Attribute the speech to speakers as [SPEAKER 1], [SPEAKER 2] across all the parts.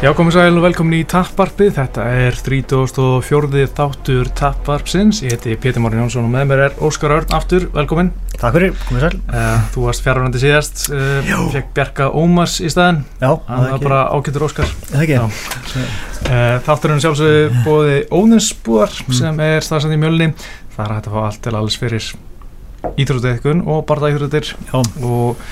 [SPEAKER 1] Já, komið sæl og velkomin í Tapparpið. Þetta er 34. þáttur Tapparpsins. Ég heiti Pétur Márin Jónsson og með mér er Óskar Örn aftur. Velkomin.
[SPEAKER 2] Takk fyrir, komið sæl.
[SPEAKER 1] Uh, þú varst fjárvænandi síðast. Uh,
[SPEAKER 2] Já.
[SPEAKER 1] Fekk Bjarka Ómars í staðinn.
[SPEAKER 2] Já,
[SPEAKER 1] Hann var bara ágættur Óskar.
[SPEAKER 2] Það ekki.
[SPEAKER 1] Já. Uh, þátturinn sjálfsögðu bóði Óðinsbúar sem er staðsend í mjölni. Það er hægt að fá allt til alls fyrir íþróttuðiðkun og barðaíþróttir
[SPEAKER 2] Já,
[SPEAKER 1] og,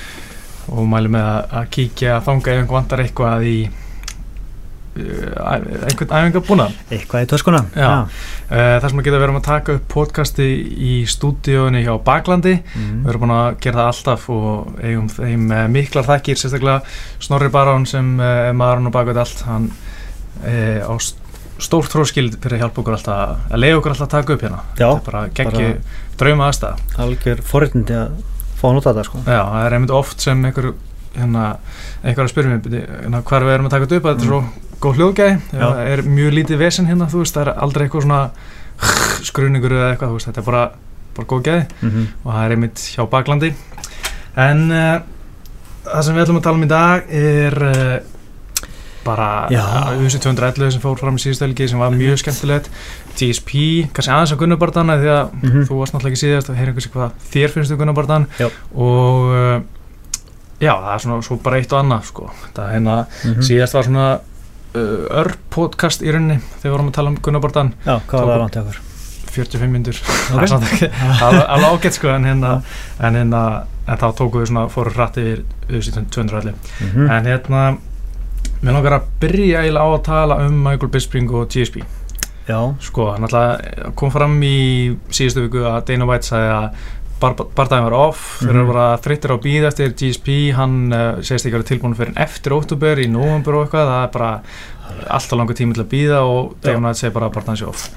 [SPEAKER 1] og mælum með að, að kíkja þanga ef einhver vantar eitthvað í uh, æ- einhvern æfingabúnað
[SPEAKER 2] eitthvað í töskuna.
[SPEAKER 1] Já. uh, þar sem að geta verið um að taka upp podcasti í stúdíóinu hjá Baklandi við
[SPEAKER 2] Mm.
[SPEAKER 1] erum búin að gera það alltaf og eigum þeim eh, miklar þakkir sérstaklega Snorri Barón sem eh, er maðurinn og bakveit allt hann eh, á st- stórt tróskild fyrir að hjálpa okkur alltaf að- að leiða okkur alltaf að taka upp hérna
[SPEAKER 2] Já,
[SPEAKER 1] þetta er bara geggju drauma aðstæða
[SPEAKER 2] Algjör forréttindi að fá að nota þetta, sko.
[SPEAKER 1] Já, það er einmitt oft sem einhver hérna, einhver er að spyrja mér "Bíddu, hérna, hvar við erum að taka þetta upp, þetta er svo góð hljóðgæði
[SPEAKER 2] Mm. Já.
[SPEAKER 1] það er mjög lítið vesen hérna, þú veist, það er aldrei eitthvað svona skruningur eða eitthvað, þú veist, þetta er bara, bara góð gæði
[SPEAKER 2] Mm -hmm.
[SPEAKER 1] og það er einmitt hjá baklandi en uh, það sem við ætlum að tala um í dag er uh, bara
[SPEAKER 2] Já.
[SPEAKER 1] UC 211 sem fór fram í síðustu helgi sem var mjög skemmtilegt TSP, kannski aðeins að Gunnabardana því að
[SPEAKER 2] Mhm.
[SPEAKER 1] þú varst náttúrulega ekki síðast að heyra einhversu hvað þér finnst um Gunnabardan
[SPEAKER 2] Já.
[SPEAKER 1] og uh, já, það er svona svo bara eitt og annað sko. það er hérna,
[SPEAKER 2] Mhm.
[SPEAKER 1] síðast var svona uh, örpodcast í rauninni þegar við vorum að tala um Gunnabardan
[SPEAKER 2] Já, hvað var það langt í okkur?
[SPEAKER 1] 45 myndur, það
[SPEAKER 2] Ok.
[SPEAKER 1] er samt ekki alveg alveg ágætt sko en hérna, en, hérna en þá tókum við svona, fórum hratt yfir auðvitað 200 allir,
[SPEAKER 2] Mm -hmm.
[SPEAKER 1] en hérna mér langar að byrja eiginlega á að tala um Michael Bisping og GSP
[SPEAKER 2] Já,
[SPEAKER 1] Sko, hann alltaf kom fram í síðustu viku að Dana White sagði að bar- bardaginn var off, þeir eru
[SPEAKER 2] Mhm.
[SPEAKER 1] bara þreyttir á bíð eftir GSP, hann uh, segist ekki að vera tilbúin fyrir eftir óttúber í november og eitthvað, það er bara alltaf langur tími til að bíða og
[SPEAKER 2] Já.
[SPEAKER 1] Dana White segir bara að bardaginn sé off.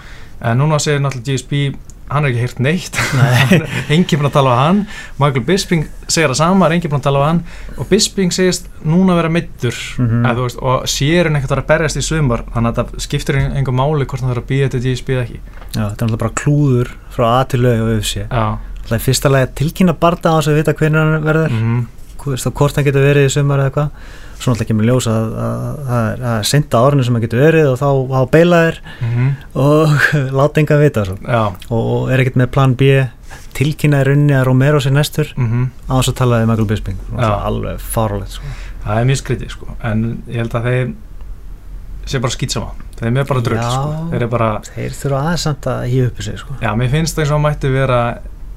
[SPEAKER 1] En núna segir náttúrulega GSP, hann er ekki heyrt neitt,
[SPEAKER 2] nei.
[SPEAKER 1] enginn búin að tala á hann, Michael Bisping segir það sama, er enginn búin að tala á hann og Bisping segist núna vera meittur
[SPEAKER 2] Mhm.
[SPEAKER 1] eða þú veist, og sér hann ekkert að berjast í sumar þannig að það skiptir en- engu máli hvort hann þarf að býða þetta GSP eða ekki
[SPEAKER 2] Já, þetta er náttúrulega bara klúður frá A til lög og öfsi.
[SPEAKER 1] Já,
[SPEAKER 2] Það er fyrsta lagi að tilkynna barda á þess að vita hvernig hann verður,
[SPEAKER 1] mm
[SPEAKER 2] mm. veist þá hvort hann getur verið í sumar eða eitthvað. Svo náttúrulega kemur ljós að, að, að, að, að senda árinu sem hann getur verið og þá hafa beilaðir og láta engan vita svo.
[SPEAKER 1] mhm, já,
[SPEAKER 2] og, og er ekkert með plan B tilkynna í rauninni að Romero sé næstur
[SPEAKER 1] mm
[SPEAKER 2] á þess að talaði Michael Bisping það
[SPEAKER 1] Já.
[SPEAKER 2] er alveg farulegt sko.
[SPEAKER 1] það er mjög skrítið sko en ég held að þeir sé bara skýtsama, þeim er bara drögl
[SPEAKER 2] Já.
[SPEAKER 1] sko. þeir er bara,
[SPEAKER 2] þeir þurfa aðeins samt að hýja uppi sig sko.
[SPEAKER 1] já, mér finnst eins og hann mætti vera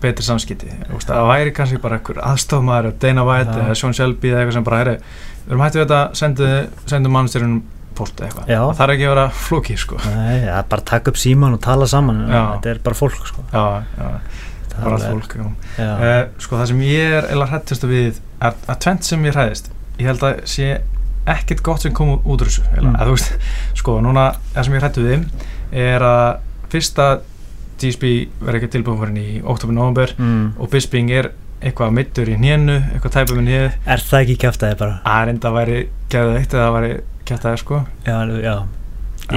[SPEAKER 1] betri samskipti, Þú veist, það væri kannski bara einhver aðstofmaður, Dana White
[SPEAKER 2] Já.
[SPEAKER 1] eða Sean Shelby eða eitthvað sem bara, herri við erum hættið við þetta, sendu, sendu mannstyrunum post eða eitthvað,
[SPEAKER 2] Já.
[SPEAKER 1] það þarf ekki að vera flóki sko,
[SPEAKER 2] Nei, það er bara að taka upp síman og tala saman
[SPEAKER 1] Já.
[SPEAKER 2] þetta er bara fólk sko.
[SPEAKER 1] já, já,
[SPEAKER 2] Það er
[SPEAKER 1] bara
[SPEAKER 2] alveg-
[SPEAKER 1] fólk já.
[SPEAKER 2] Já.
[SPEAKER 1] Eh, sko það sem ég er eða hrættist við er að tvent sem ég hræðist ég held að sé ekkert gott sem kom út úr þessu mm.
[SPEAKER 2] Mm.
[SPEAKER 1] að, þú veist, sko núna það sem ég hrættu við er að fyrsta DSB verður ekki tilbúin fyrir í oktober-november
[SPEAKER 2] mm.
[SPEAKER 1] og Bisping er eitthvað middur í hnénu eitthvað tæpum í hnéð
[SPEAKER 2] er það ekki kæft að þið bara
[SPEAKER 1] að reynda væri geðið eitt eða væri kæft aðeins sko
[SPEAKER 2] já, alveg, já.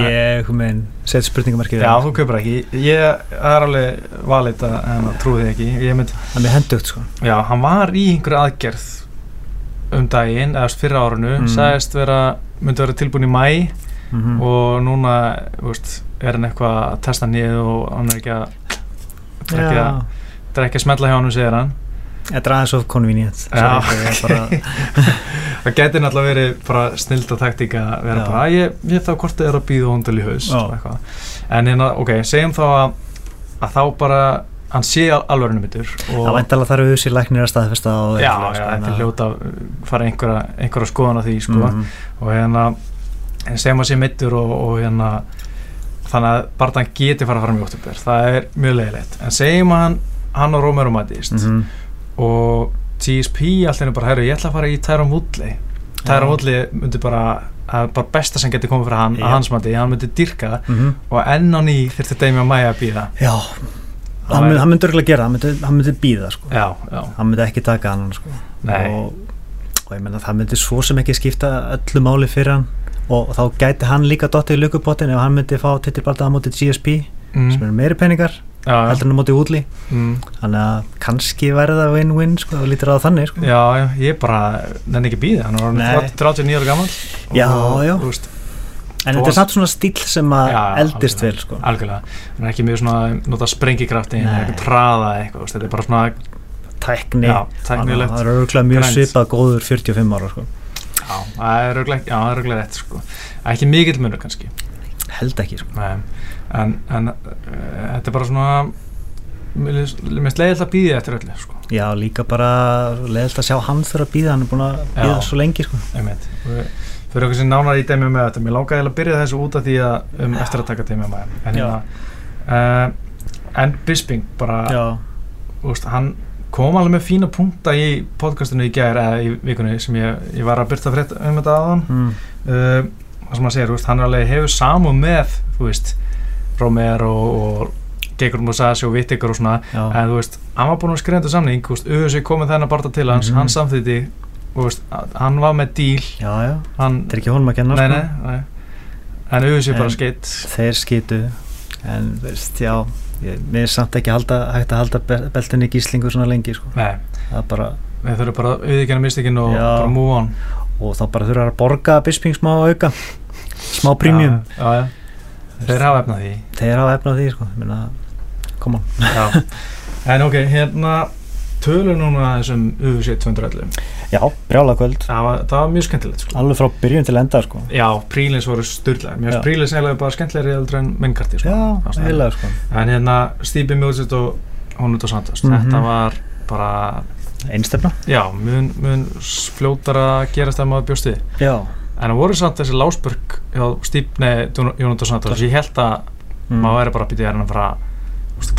[SPEAKER 2] ég mein, set spurningamarkið
[SPEAKER 1] Eh. já þú kaupir ekki, ég það er alveg valið að en að trúi því ekki ég mynd
[SPEAKER 2] það er mér hendugt sko.
[SPEAKER 1] Já, hann var í einhverju aðgerð um daginn, eða fyrra árunu
[SPEAKER 2] Mm.
[SPEAKER 1] sagðist vera, myndi vera tilbúin í mæ
[SPEAKER 2] mm -hmm.
[SPEAKER 1] og núna þú veist, er hann eitthvað að testa nýð og hann er ekki að það er ekki að- það er ekki að smetla hjá hann, segir hann
[SPEAKER 2] þetta er aðeins of convenient
[SPEAKER 1] Já,
[SPEAKER 2] Sorry, ég er bara,
[SPEAKER 1] það geti náttúrulega verið bara snilda taktík að vera
[SPEAKER 2] Já.
[SPEAKER 1] bara "Æ, ég, ég þá hvort það er að býða hóndal í haus
[SPEAKER 2] Já.
[SPEAKER 1] en hérna, ok, segjum þá að, að þá bara hann sé al- alvörinu mittur
[SPEAKER 2] það væntalega þarf auðvitað læknir að staðfesta og-
[SPEAKER 1] Já, já,
[SPEAKER 2] sko,
[SPEAKER 1] þetta
[SPEAKER 2] en
[SPEAKER 1] er
[SPEAKER 2] að-
[SPEAKER 1] hljóta að fara einhverja, einhverja skoðan á því sko.
[SPEAKER 2] Mhm.
[SPEAKER 1] og hérna en sem að sé mittur og, og hérna þannig að barndan geti fara að fara í óttubér það er mjög leiðilegt en segjum að hann, hann og Romero mætist
[SPEAKER 2] Mhm.
[SPEAKER 1] og GSP alltaf er bara herru ég ætla að fara í Tæram Woodley Tæram
[SPEAKER 2] Já.
[SPEAKER 1] Woodley myndi bara það er bara besta sem geti komið fyrir hann
[SPEAKER 2] Já.
[SPEAKER 1] að hans mati hann myndi dyrka það
[SPEAKER 2] Mhm.
[SPEAKER 1] og enn á ný þyrfti Demi að mæja að býða
[SPEAKER 2] Já, hann myndi, hann myndi örgulega gera það, hann myndi, hann myndi býða sko.
[SPEAKER 1] já, já,
[SPEAKER 2] hann myndi ekki taka annan sko.
[SPEAKER 1] Nei.
[SPEAKER 2] og, og ég menna það myndi svo sem ekki skipta öllu máli fyrir hann og þá gæti hann líka dottið í lukupottin ef hann myndi fá titilbardaða móti GSP sem
[SPEAKER 1] mm,
[SPEAKER 2] eru meiri peningar
[SPEAKER 1] já, já,
[SPEAKER 2] heldur hann á móti útli
[SPEAKER 1] mm,
[SPEAKER 2] þannig að kannski verði það win-win sko, þú lítir á það þannig sko.
[SPEAKER 1] já, já, ég bara nenni ekki að býða hann var orðinn
[SPEAKER 2] Nei.
[SPEAKER 1] 30 39 ára gammal
[SPEAKER 2] Já, já.
[SPEAKER 1] þú veist,
[SPEAKER 2] en þetta er samt svona stíl sem að
[SPEAKER 1] Já,
[SPEAKER 2] eldist vel sko.
[SPEAKER 1] algjörlega, hann er ekki mjög svona að nota sprengikrafti, hann er
[SPEAKER 2] Nei.
[SPEAKER 1] ekki að traða eitthvað, þú veist, þetta er bara svona
[SPEAKER 2] tækni,
[SPEAKER 1] já,
[SPEAKER 2] þannig að
[SPEAKER 1] tæknilegt
[SPEAKER 2] það er örgulega mjög
[SPEAKER 1] grænt.
[SPEAKER 2] svipað góður 45 ára sko.
[SPEAKER 1] já, það er örugglega- já, það er röglega rétt sko. ekki mikill munur kannski
[SPEAKER 2] held ekki sko.
[SPEAKER 1] Nei, en, en uh, þetta er bara svona mér finnst- mér finnst leiðilt að býði eftir öllu sko,
[SPEAKER 2] já, líka bara leðilt að sjá hann þurfa að býða hann er búin að býða
[SPEAKER 1] Já.
[SPEAKER 2] svo lengi sko.
[SPEAKER 1] einmitt Og við- fyrir okkur sem nánar í dæmi með þetta mér langaði eiginlega að byrja þessu út af því að um, eftir að taka dæmi með en,
[SPEAKER 2] Já.
[SPEAKER 1] hérna, uh, en Bisping bara
[SPEAKER 2] já,
[SPEAKER 1] úst, hann kom alveg með fína punkta í podcastinu í gær eða í vikunni sem ég, ég var að byrta frétt um þetta aðan
[SPEAKER 2] mm,
[SPEAKER 1] uh, það sem hann segir, úst, hann alveg hefur samúð með þú veist, Romero og Gekkur Musasi og Vittikur og svona
[SPEAKER 2] já,
[SPEAKER 1] en þú veist, hann var búinn að skrifa þetta samning auðvitað komið þennan barta til hans,
[SPEAKER 2] Mhm.
[SPEAKER 1] hann samþýtti þú veist, að- hann var með díl
[SPEAKER 2] já, já
[SPEAKER 1] hann,
[SPEAKER 2] þetta er ekki honum að kenna
[SPEAKER 1] nei,
[SPEAKER 2] sko.
[SPEAKER 1] nei, nei en auðvitað bara
[SPEAKER 2] En-
[SPEAKER 1] skeitt
[SPEAKER 2] þeir skýtu en þú veist, já ég, mér er samt ekki halda, hægt að halda be- beltinni í gíslingu svona lengi sko.
[SPEAKER 1] nei,
[SPEAKER 2] það er bara
[SPEAKER 1] við þurfum bara að auðvitað mistökin og
[SPEAKER 2] Já.
[SPEAKER 1] bara move on
[SPEAKER 2] og þá bara þurfa að borga Bisping smá auka smá prímjum
[SPEAKER 1] já, já, já. þeir hafa efnað því
[SPEAKER 2] þeir hafa efna á því sko. Ég meina, koma
[SPEAKER 1] Já. En ok, hérna tölum núna um þessum UFC 211
[SPEAKER 2] já, brjála kvöld
[SPEAKER 1] það var, það var mjög skemmtilegt sko.
[SPEAKER 2] alveg frá byrjun til enda sko.
[SPEAKER 1] Já, prílins voru styrlaðir Mér
[SPEAKER 2] Já.
[SPEAKER 1] finnst prílins eiginlega bara skemmtilegri heldur en mennkarti sko.
[SPEAKER 2] já,
[SPEAKER 1] Það var svona-
[SPEAKER 2] heila sko.
[SPEAKER 1] En hérna Stípi Mjóðsitt og Hónut og Sandast
[SPEAKER 2] Mhm.
[SPEAKER 1] Þetta var bara
[SPEAKER 2] einstefna
[SPEAKER 1] Já, mun, mun fljótara gerast að maður bjóst við
[SPEAKER 2] já,
[SPEAKER 1] En það voru samt þessi lásbörg hjá Stípni Jónut og Sandast Ég held að
[SPEAKER 2] mm.
[SPEAKER 1] maður væri bara að býta í hérna frá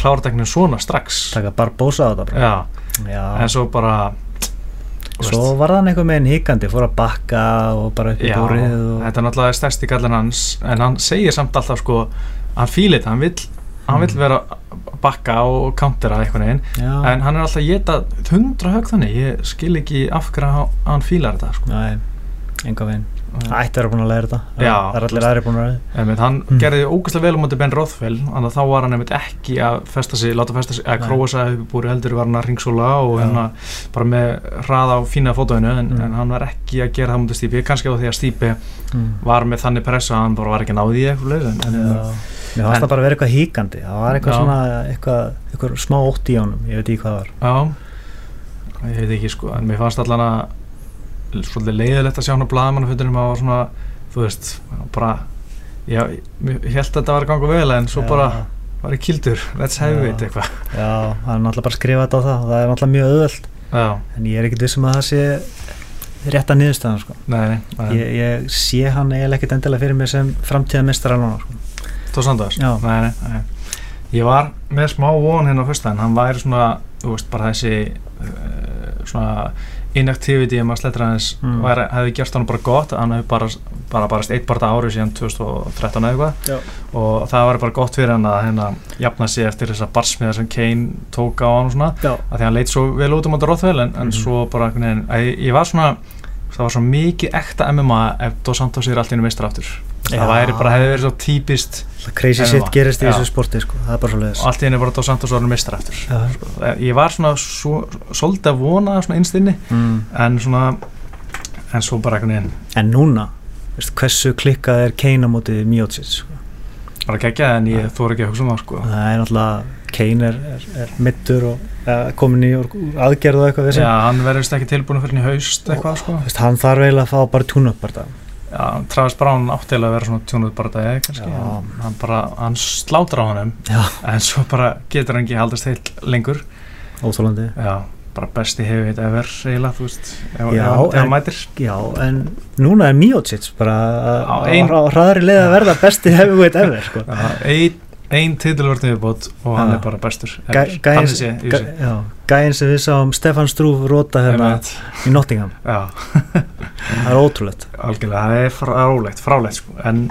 [SPEAKER 1] klárteknin svona strax
[SPEAKER 2] taka Barbosa á þetta bara.
[SPEAKER 1] Já,
[SPEAKER 2] já,
[SPEAKER 1] en svo bara þú veist.
[SPEAKER 2] svo var hann einhver meginn hikandi fór að bakka og bara upp í
[SPEAKER 1] Já,
[SPEAKER 2] búrið og...
[SPEAKER 1] þetta er náttúrulega stærsti gallin hans en hann segir samt alltaf sko hann fílir þetta, hann vill hann vill
[SPEAKER 2] Mm.
[SPEAKER 1] vera að bakka og countera eitthvað neginn,
[SPEAKER 2] já,
[SPEAKER 1] en hann er alltaf að geta hundra hög þannig, ég skil ekki af hverju hann- hann fílar þetta sko.
[SPEAKER 2] Nei, enga veginn
[SPEAKER 1] Æ.
[SPEAKER 2] ætti að vera búin að læra þetta Það-
[SPEAKER 1] Já.
[SPEAKER 2] það er allir aðri búin að læra þetta
[SPEAKER 1] en, hann
[SPEAKER 2] Mm.
[SPEAKER 1] gerði ógæslega vel um átti Ben Rothwell þannig að þá var hann einmitt ekki að festa sig, láta festa sig,
[SPEAKER 2] Nei.
[SPEAKER 1] að króa sig upp í búri heldur var hann að ringsóla og
[SPEAKER 2] Já.
[SPEAKER 1] hérna bara með hraða á fína fótóinu en,
[SPEAKER 2] Mm.
[SPEAKER 1] en hann var ekki að gera það mútið Stípi kannski á því að Stípi
[SPEAKER 2] mm.
[SPEAKER 1] var með þannig pressa að hann bara var ekki að ná því eitthvað leið en, en,
[SPEAKER 2] Já. Mér fannst
[SPEAKER 1] En-
[SPEAKER 2] það bara að vera eitthvað híkandi Það var eitthvað
[SPEAKER 1] Já.
[SPEAKER 2] svona, eitthvað, eitthvað smá ótt í honum Ég veit ekki hvað það var
[SPEAKER 1] Já, ég veit ekki sko, en mér fannst allan að svolítið leiðilegt að sjá hann á blaðamannafundinum að var svona, þú veist, bara, já, ég ég held að þetta var að ganga vel en svo bara var ég kildur, let's have
[SPEAKER 2] Já.
[SPEAKER 1] it eitthvað.
[SPEAKER 2] Já, hann er náttúrulega bara að skrifa þetta á það og Það er náttúrulega mjög auðvöld
[SPEAKER 1] Já,
[SPEAKER 2] En ég er ekkit vissum að það sé rétt að niðurstaðan sko.
[SPEAKER 1] nei, nei, nei.
[SPEAKER 2] ég, ég sé hann eiginlega ekkit endilega fyrir mér sem framtíðamestara núna sko.
[SPEAKER 1] Tó Sandars?
[SPEAKER 2] Já.
[SPEAKER 1] Nei, nei, nei. Ég var með smá von hérna á fyrstaðin, hann væri svona, þú veist, bara þessi uh, svona inactivity um að sletra hans
[SPEAKER 2] Mm.
[SPEAKER 1] væri, hefði gert hann bara gott, hann hefði bara, bara barast eitt barða ári síðan 2013 eða eitthvað
[SPEAKER 2] Já.
[SPEAKER 1] og það væri bara gott fyrir hann að hérna jafna sig eftir þessa barsmiða sem Kane tók á hann og svona
[SPEAKER 2] Já,
[SPEAKER 1] að því hann leit svo vel út um að Rothwell en, en
[SPEAKER 2] Mhm.
[SPEAKER 1] svo bara, einhvern veginn, að ég, ég var svona það var svo mikið ekta MMA ef Dos Santos er allt í einu meistar aftur
[SPEAKER 2] Já.
[SPEAKER 1] það væri bara, hefði verið svo típist
[SPEAKER 2] það crazy
[SPEAKER 1] Ennum
[SPEAKER 2] shit
[SPEAKER 1] það.
[SPEAKER 2] gerist í
[SPEAKER 1] Já.
[SPEAKER 2] þessu sporti sko. Það er bara sko. svo leiðis
[SPEAKER 1] og allt í einu bara Dos Santos orðin meistar aftur ég var svona svo, svolítið að vona það svona innstinni
[SPEAKER 2] mm.
[SPEAKER 1] en svona en svo bara einhvern veginn
[SPEAKER 2] En núna, veistu, hversu klikkað er Kane á móti Mjótsits sko.
[SPEAKER 1] bara gegja en ég þóra ekki að hugsa um það sko
[SPEAKER 2] Það er náttúrulega Kane er, er, er mittur og ja, komin í úr- úr aðgerð og eitthvað við
[SPEAKER 1] Já, hann verður vist ekki tilbúin fyrir henni haust eitthvað sko
[SPEAKER 2] Þú veist, hann þarf eiginlega að fá bara tún-up bara það.
[SPEAKER 1] Já, Travis Brown áttilega að vera svona tjónuð bara dagið kannski,
[SPEAKER 2] Já.
[SPEAKER 1] en hann bara, hann slátra á honum
[SPEAKER 2] Já.
[SPEAKER 1] en svo bara getur hann ekki haldast heilt lengur
[SPEAKER 2] Óþólandi.
[SPEAKER 1] Já, bara besti hefur þetta ever eiginlega, þú veist, ef,
[SPEAKER 2] Já,
[SPEAKER 1] ef, ef
[SPEAKER 2] en-
[SPEAKER 1] hann mætir
[SPEAKER 2] Já, en núna er Miocic bara
[SPEAKER 1] Á,
[SPEAKER 2] að-
[SPEAKER 1] ein-
[SPEAKER 2] á hraðri leið að verða besti heavyweight ever, sko.
[SPEAKER 1] Já, ein, ein titilvörðin viðbót og hann
[SPEAKER 2] Já.
[SPEAKER 1] er bara bestur
[SPEAKER 2] Gæ-
[SPEAKER 1] ever.
[SPEAKER 2] gæinn-
[SPEAKER 1] Þannig sé, ég
[SPEAKER 2] gæ-
[SPEAKER 1] sé
[SPEAKER 2] já, Gæinn sem við sáum Stefan Strúf róta hérna
[SPEAKER 1] Einmitt.
[SPEAKER 2] í Nottingham.
[SPEAKER 1] Já,
[SPEAKER 2] Það er ótrúlegt.
[SPEAKER 1] algjörlega, það er frálegt, frálegt sko, en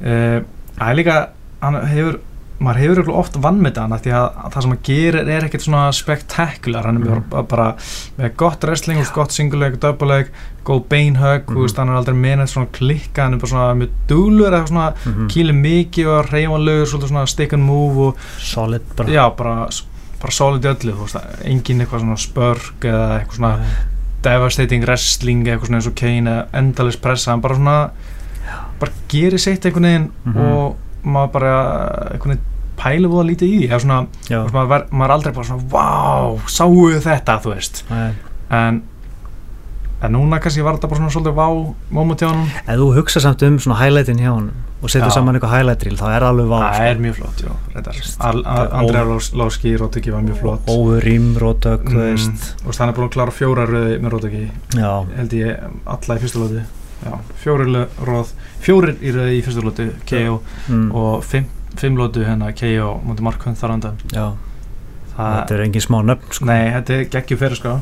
[SPEAKER 1] eh, það er líka, hann hefur maður hefur örugglega oft vann með hann af því að það sem hann gerir er ekkert svona spektakular, hann er
[SPEAKER 2] Mhm.
[SPEAKER 1] bara, bara með gott wrestling, ja. gott singuleg, doubuleg góð beinhögg, mm
[SPEAKER 2] Mhm.
[SPEAKER 1] -hmm. hann er aldrei með neitt svona klikka, hann er bara svona mjög dúlur eða svona
[SPEAKER 2] Mhm.
[SPEAKER 1] kýlir mikið og reyfanlegur, svolítið svona stick and move og
[SPEAKER 2] Solid bara.
[SPEAKER 1] já, bara, bara solid í öllu, þú veist, engin eitthvað svona spörg eða eitthvað svona
[SPEAKER 2] Nei.
[SPEAKER 1] devastating wrestling eitthvað svona eins og Kane eða endalist pressa hann bara svona bara gerir sitt einhvern veginn
[SPEAKER 2] Mhm.
[SPEAKER 1] og maður bara eh, einhvern veginn pælu voða lítið í því eða svona,
[SPEAKER 2] já,
[SPEAKER 1] þú veist, maður, ver, maður er aldrei bara svona vá, sáu þetta, þú veist
[SPEAKER 2] Nei.
[SPEAKER 1] en, en núna kannski var þetta bara svona svolítið vá moment hjá hann,
[SPEAKER 2] ef þú hugsa samt um svona highlightin hjá hann og setur
[SPEAKER 1] Já.
[SPEAKER 2] saman eitthvað highlight reel þá er það alveg vá
[SPEAKER 1] það
[SPEAKER 2] sko.
[SPEAKER 1] er mjög flott jú, reyndar,
[SPEAKER 2] Veist,
[SPEAKER 1] Al-
[SPEAKER 2] það
[SPEAKER 1] Al-
[SPEAKER 2] er
[SPEAKER 1] Andrea Lóski í Róttöki var
[SPEAKER 2] Oh,
[SPEAKER 1] mjög flott og
[SPEAKER 2] óurím, rótök, þú
[SPEAKER 1] Mm.
[SPEAKER 2] veist
[SPEAKER 1] hann er búin að klára fjóra röði með Róttöki
[SPEAKER 2] já,
[SPEAKER 1] held ég alla í fyrsta lóti já, fjórir lö- röð fjórir í röði í fyrsta lóti KO
[SPEAKER 2] mm,
[SPEAKER 1] og fimm, fimm lótu hérna KO mútið Markund þar á undan
[SPEAKER 2] já.
[SPEAKER 1] það,
[SPEAKER 2] þetta er engin smá nöfn sko.
[SPEAKER 1] nei, þetta er geggjum fyrir sko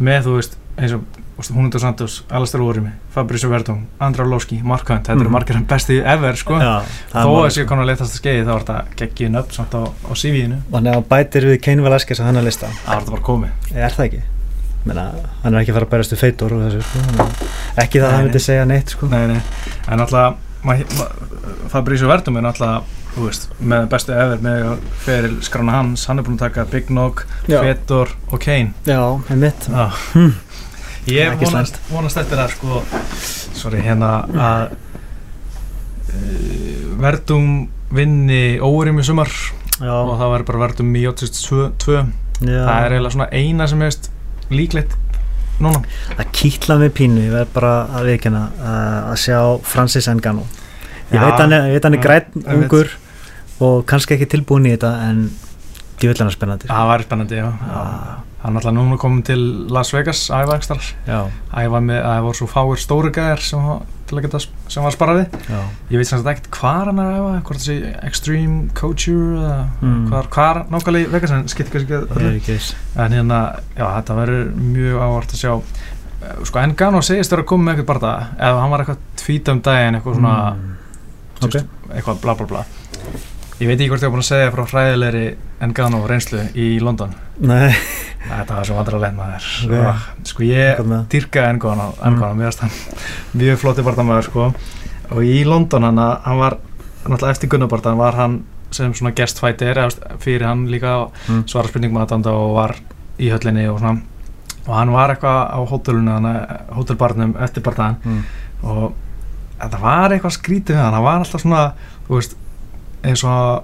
[SPEAKER 1] með þú veist eins og þú veist, Húnundur Santos, Alistair Orimi Fabrizio Verdum, Andra Lóski, Markund þetta eru
[SPEAKER 2] Mhm.
[SPEAKER 1] margir hann besti ever sko
[SPEAKER 2] já,
[SPEAKER 1] þó
[SPEAKER 2] það er
[SPEAKER 1] að
[SPEAKER 2] málið,
[SPEAKER 1] þessi konar letast að skeiði þá er þetta geggjum upp samt á, á CV-inu
[SPEAKER 2] Þannig að bætir við Kane Velasquez á hennar lista
[SPEAKER 1] það var þetta bara komið
[SPEAKER 2] Er það ekki? Menna, hann er ekki að fara að bærast við feitor og þessu sko. þannig að- Ekki það að
[SPEAKER 1] Nei,
[SPEAKER 2] hann
[SPEAKER 1] nei.
[SPEAKER 2] myndi segja neitt sko.
[SPEAKER 1] nei, nei. en alltaf ma- ma- Fabrizio Verdum er alltaf þú veist, með bestu ever með feril skrána hans, hann er búin að taka Big Nog, Fedor og Kane
[SPEAKER 2] já
[SPEAKER 1] Já.
[SPEAKER 2] einmitt Hmm.
[SPEAKER 1] Ah, hm. Ég
[SPEAKER 2] Ekki
[SPEAKER 1] vonast, vonast eftir að sko Sorry, hérna að uh, Verdum vinni óurum í sumar
[SPEAKER 2] já,
[SPEAKER 1] og það verður bara Verdum í 82 2.
[SPEAKER 2] já.
[SPEAKER 1] Það er eiginlega svona eina sem hefist líklegt núna
[SPEAKER 2] Það kýtla mig pínu, ég verð bara að viðkjanna að sjá Francis Ngannou Ég
[SPEAKER 1] Já.
[SPEAKER 2] veit hann, er- ég veit hann er
[SPEAKER 1] Já,
[SPEAKER 2] græn
[SPEAKER 1] ég veit.
[SPEAKER 2] ungur og kannski ekki tilbúin í þetta en djúvill hann er spennandi
[SPEAKER 1] Það var spennandi, já
[SPEAKER 2] Ah.
[SPEAKER 1] Hann alltaf núna komin til Las Vegas að æfa ekstra
[SPEAKER 2] Já,
[SPEAKER 1] Æfa með, það voru svo fáir stóru gæðir sem, var- til að geta, sem var sparað við
[SPEAKER 2] já,
[SPEAKER 1] Ég veit sem sagt ekkert hvar hann er að æfa Hvort þessi Extreme Couture eða
[SPEAKER 2] Mm.
[SPEAKER 1] hvar, hvar nákvæmlega í Vegas en skipt kannski ekki
[SPEAKER 2] ég
[SPEAKER 1] öllu
[SPEAKER 2] er ekki viss
[SPEAKER 1] en hérna, já, þetta verður mjög áhvert að sjá Eh, sko, en Gano segist vera að koma með eitthvað barða ef hann var eitthvað tvít um daginn eitthvað svona,
[SPEAKER 2] mm.
[SPEAKER 1] þú
[SPEAKER 2] ok.
[SPEAKER 1] eitthvað bla bla bla ég veit ekki hvort ég var búin að segja frá hræðilegri en Gano reynslu í London
[SPEAKER 2] Nei,
[SPEAKER 1] þetta var svo vandrarlega maður
[SPEAKER 2] Ok.
[SPEAKER 1] yeah. sko, ég
[SPEAKER 2] hvað með það?
[SPEAKER 1] dyrkaði en Gano, en
[SPEAKER 2] Mm.
[SPEAKER 1] Gano mjög, stann, mjög flotti barða maður sko. og í London hann, hann var náttúrulega eftir Gunnabardan var hann sem svona guestfighter eða, þú veist, fyrir hann líka
[SPEAKER 2] Mm.
[SPEAKER 1] svara spurningum aðdanda og var í höllinni og svona og hann var eitthvað á hótelunum hann, eh, hótelbarnum eftir barnaðan
[SPEAKER 2] Mm.
[SPEAKER 1] og þetta var eitthvað skrítið við hann hann var alltaf svona, þú veist eins og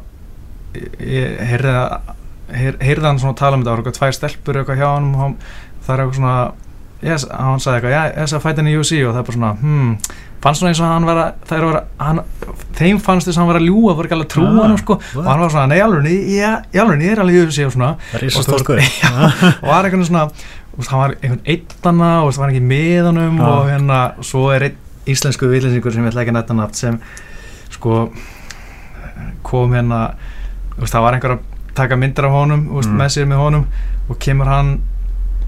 [SPEAKER 1] ég- ég heyrði að- heyr- heyrði hann svona tala um þetta, það voru eitthvað tvær stelpur eitthvað hjá hann og hann- það er eitthvað svona yes, hann sagði eitthvað, já, þess að fæta henni í UFC og það er bara svona, hmm, fannst svona eins og hann vera, það er að vera, hann, þeim fannst þess að hann vera að ljúga, voru ekki alveg að trúa
[SPEAKER 2] Ah,
[SPEAKER 1] hann sko,
[SPEAKER 2] what?
[SPEAKER 1] og hann var svona, nei, alveg, ég, ég, alveg, ég er alveg í UFC og svona,
[SPEAKER 2] Það er ísa
[SPEAKER 1] Og þú
[SPEAKER 2] stór
[SPEAKER 1] veist-
[SPEAKER 2] guð
[SPEAKER 1] og var einhvern veginn svona þú veist, hann var einhvern eittana og það var ekki með honum
[SPEAKER 2] Já.
[SPEAKER 1] og hérna svo er einn íslensku villinsingur sem ég ætla ekki að netta nátt sem sko kom hérna þú veist, það var einhver að taka myndir af honum þú veist,
[SPEAKER 2] Mm.
[SPEAKER 1] með sér með honum og kemur hann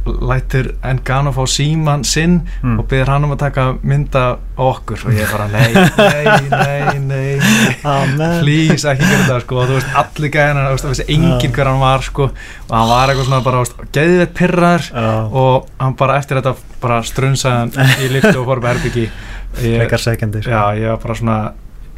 [SPEAKER 1] lætur Engano fá síman sinn
[SPEAKER 2] Mm.
[SPEAKER 1] og byrðir hann um að taka mynda okkur og ég bara nei, nei, nei, nei, nei
[SPEAKER 2] Amen
[SPEAKER 1] please ekki gera þetta sko og þú veist allir gæðina, þú veist það vissi enginn hver hann var sko og hann var eitthvað svona bara þú veist, geðveitt pirraður
[SPEAKER 2] Já,
[SPEAKER 1] og hann bara eftir þetta bara strunsaði hann í lyftu og fór upp að herbyggi
[SPEAKER 2] frekar segjandi sko.
[SPEAKER 1] já ég var bara svona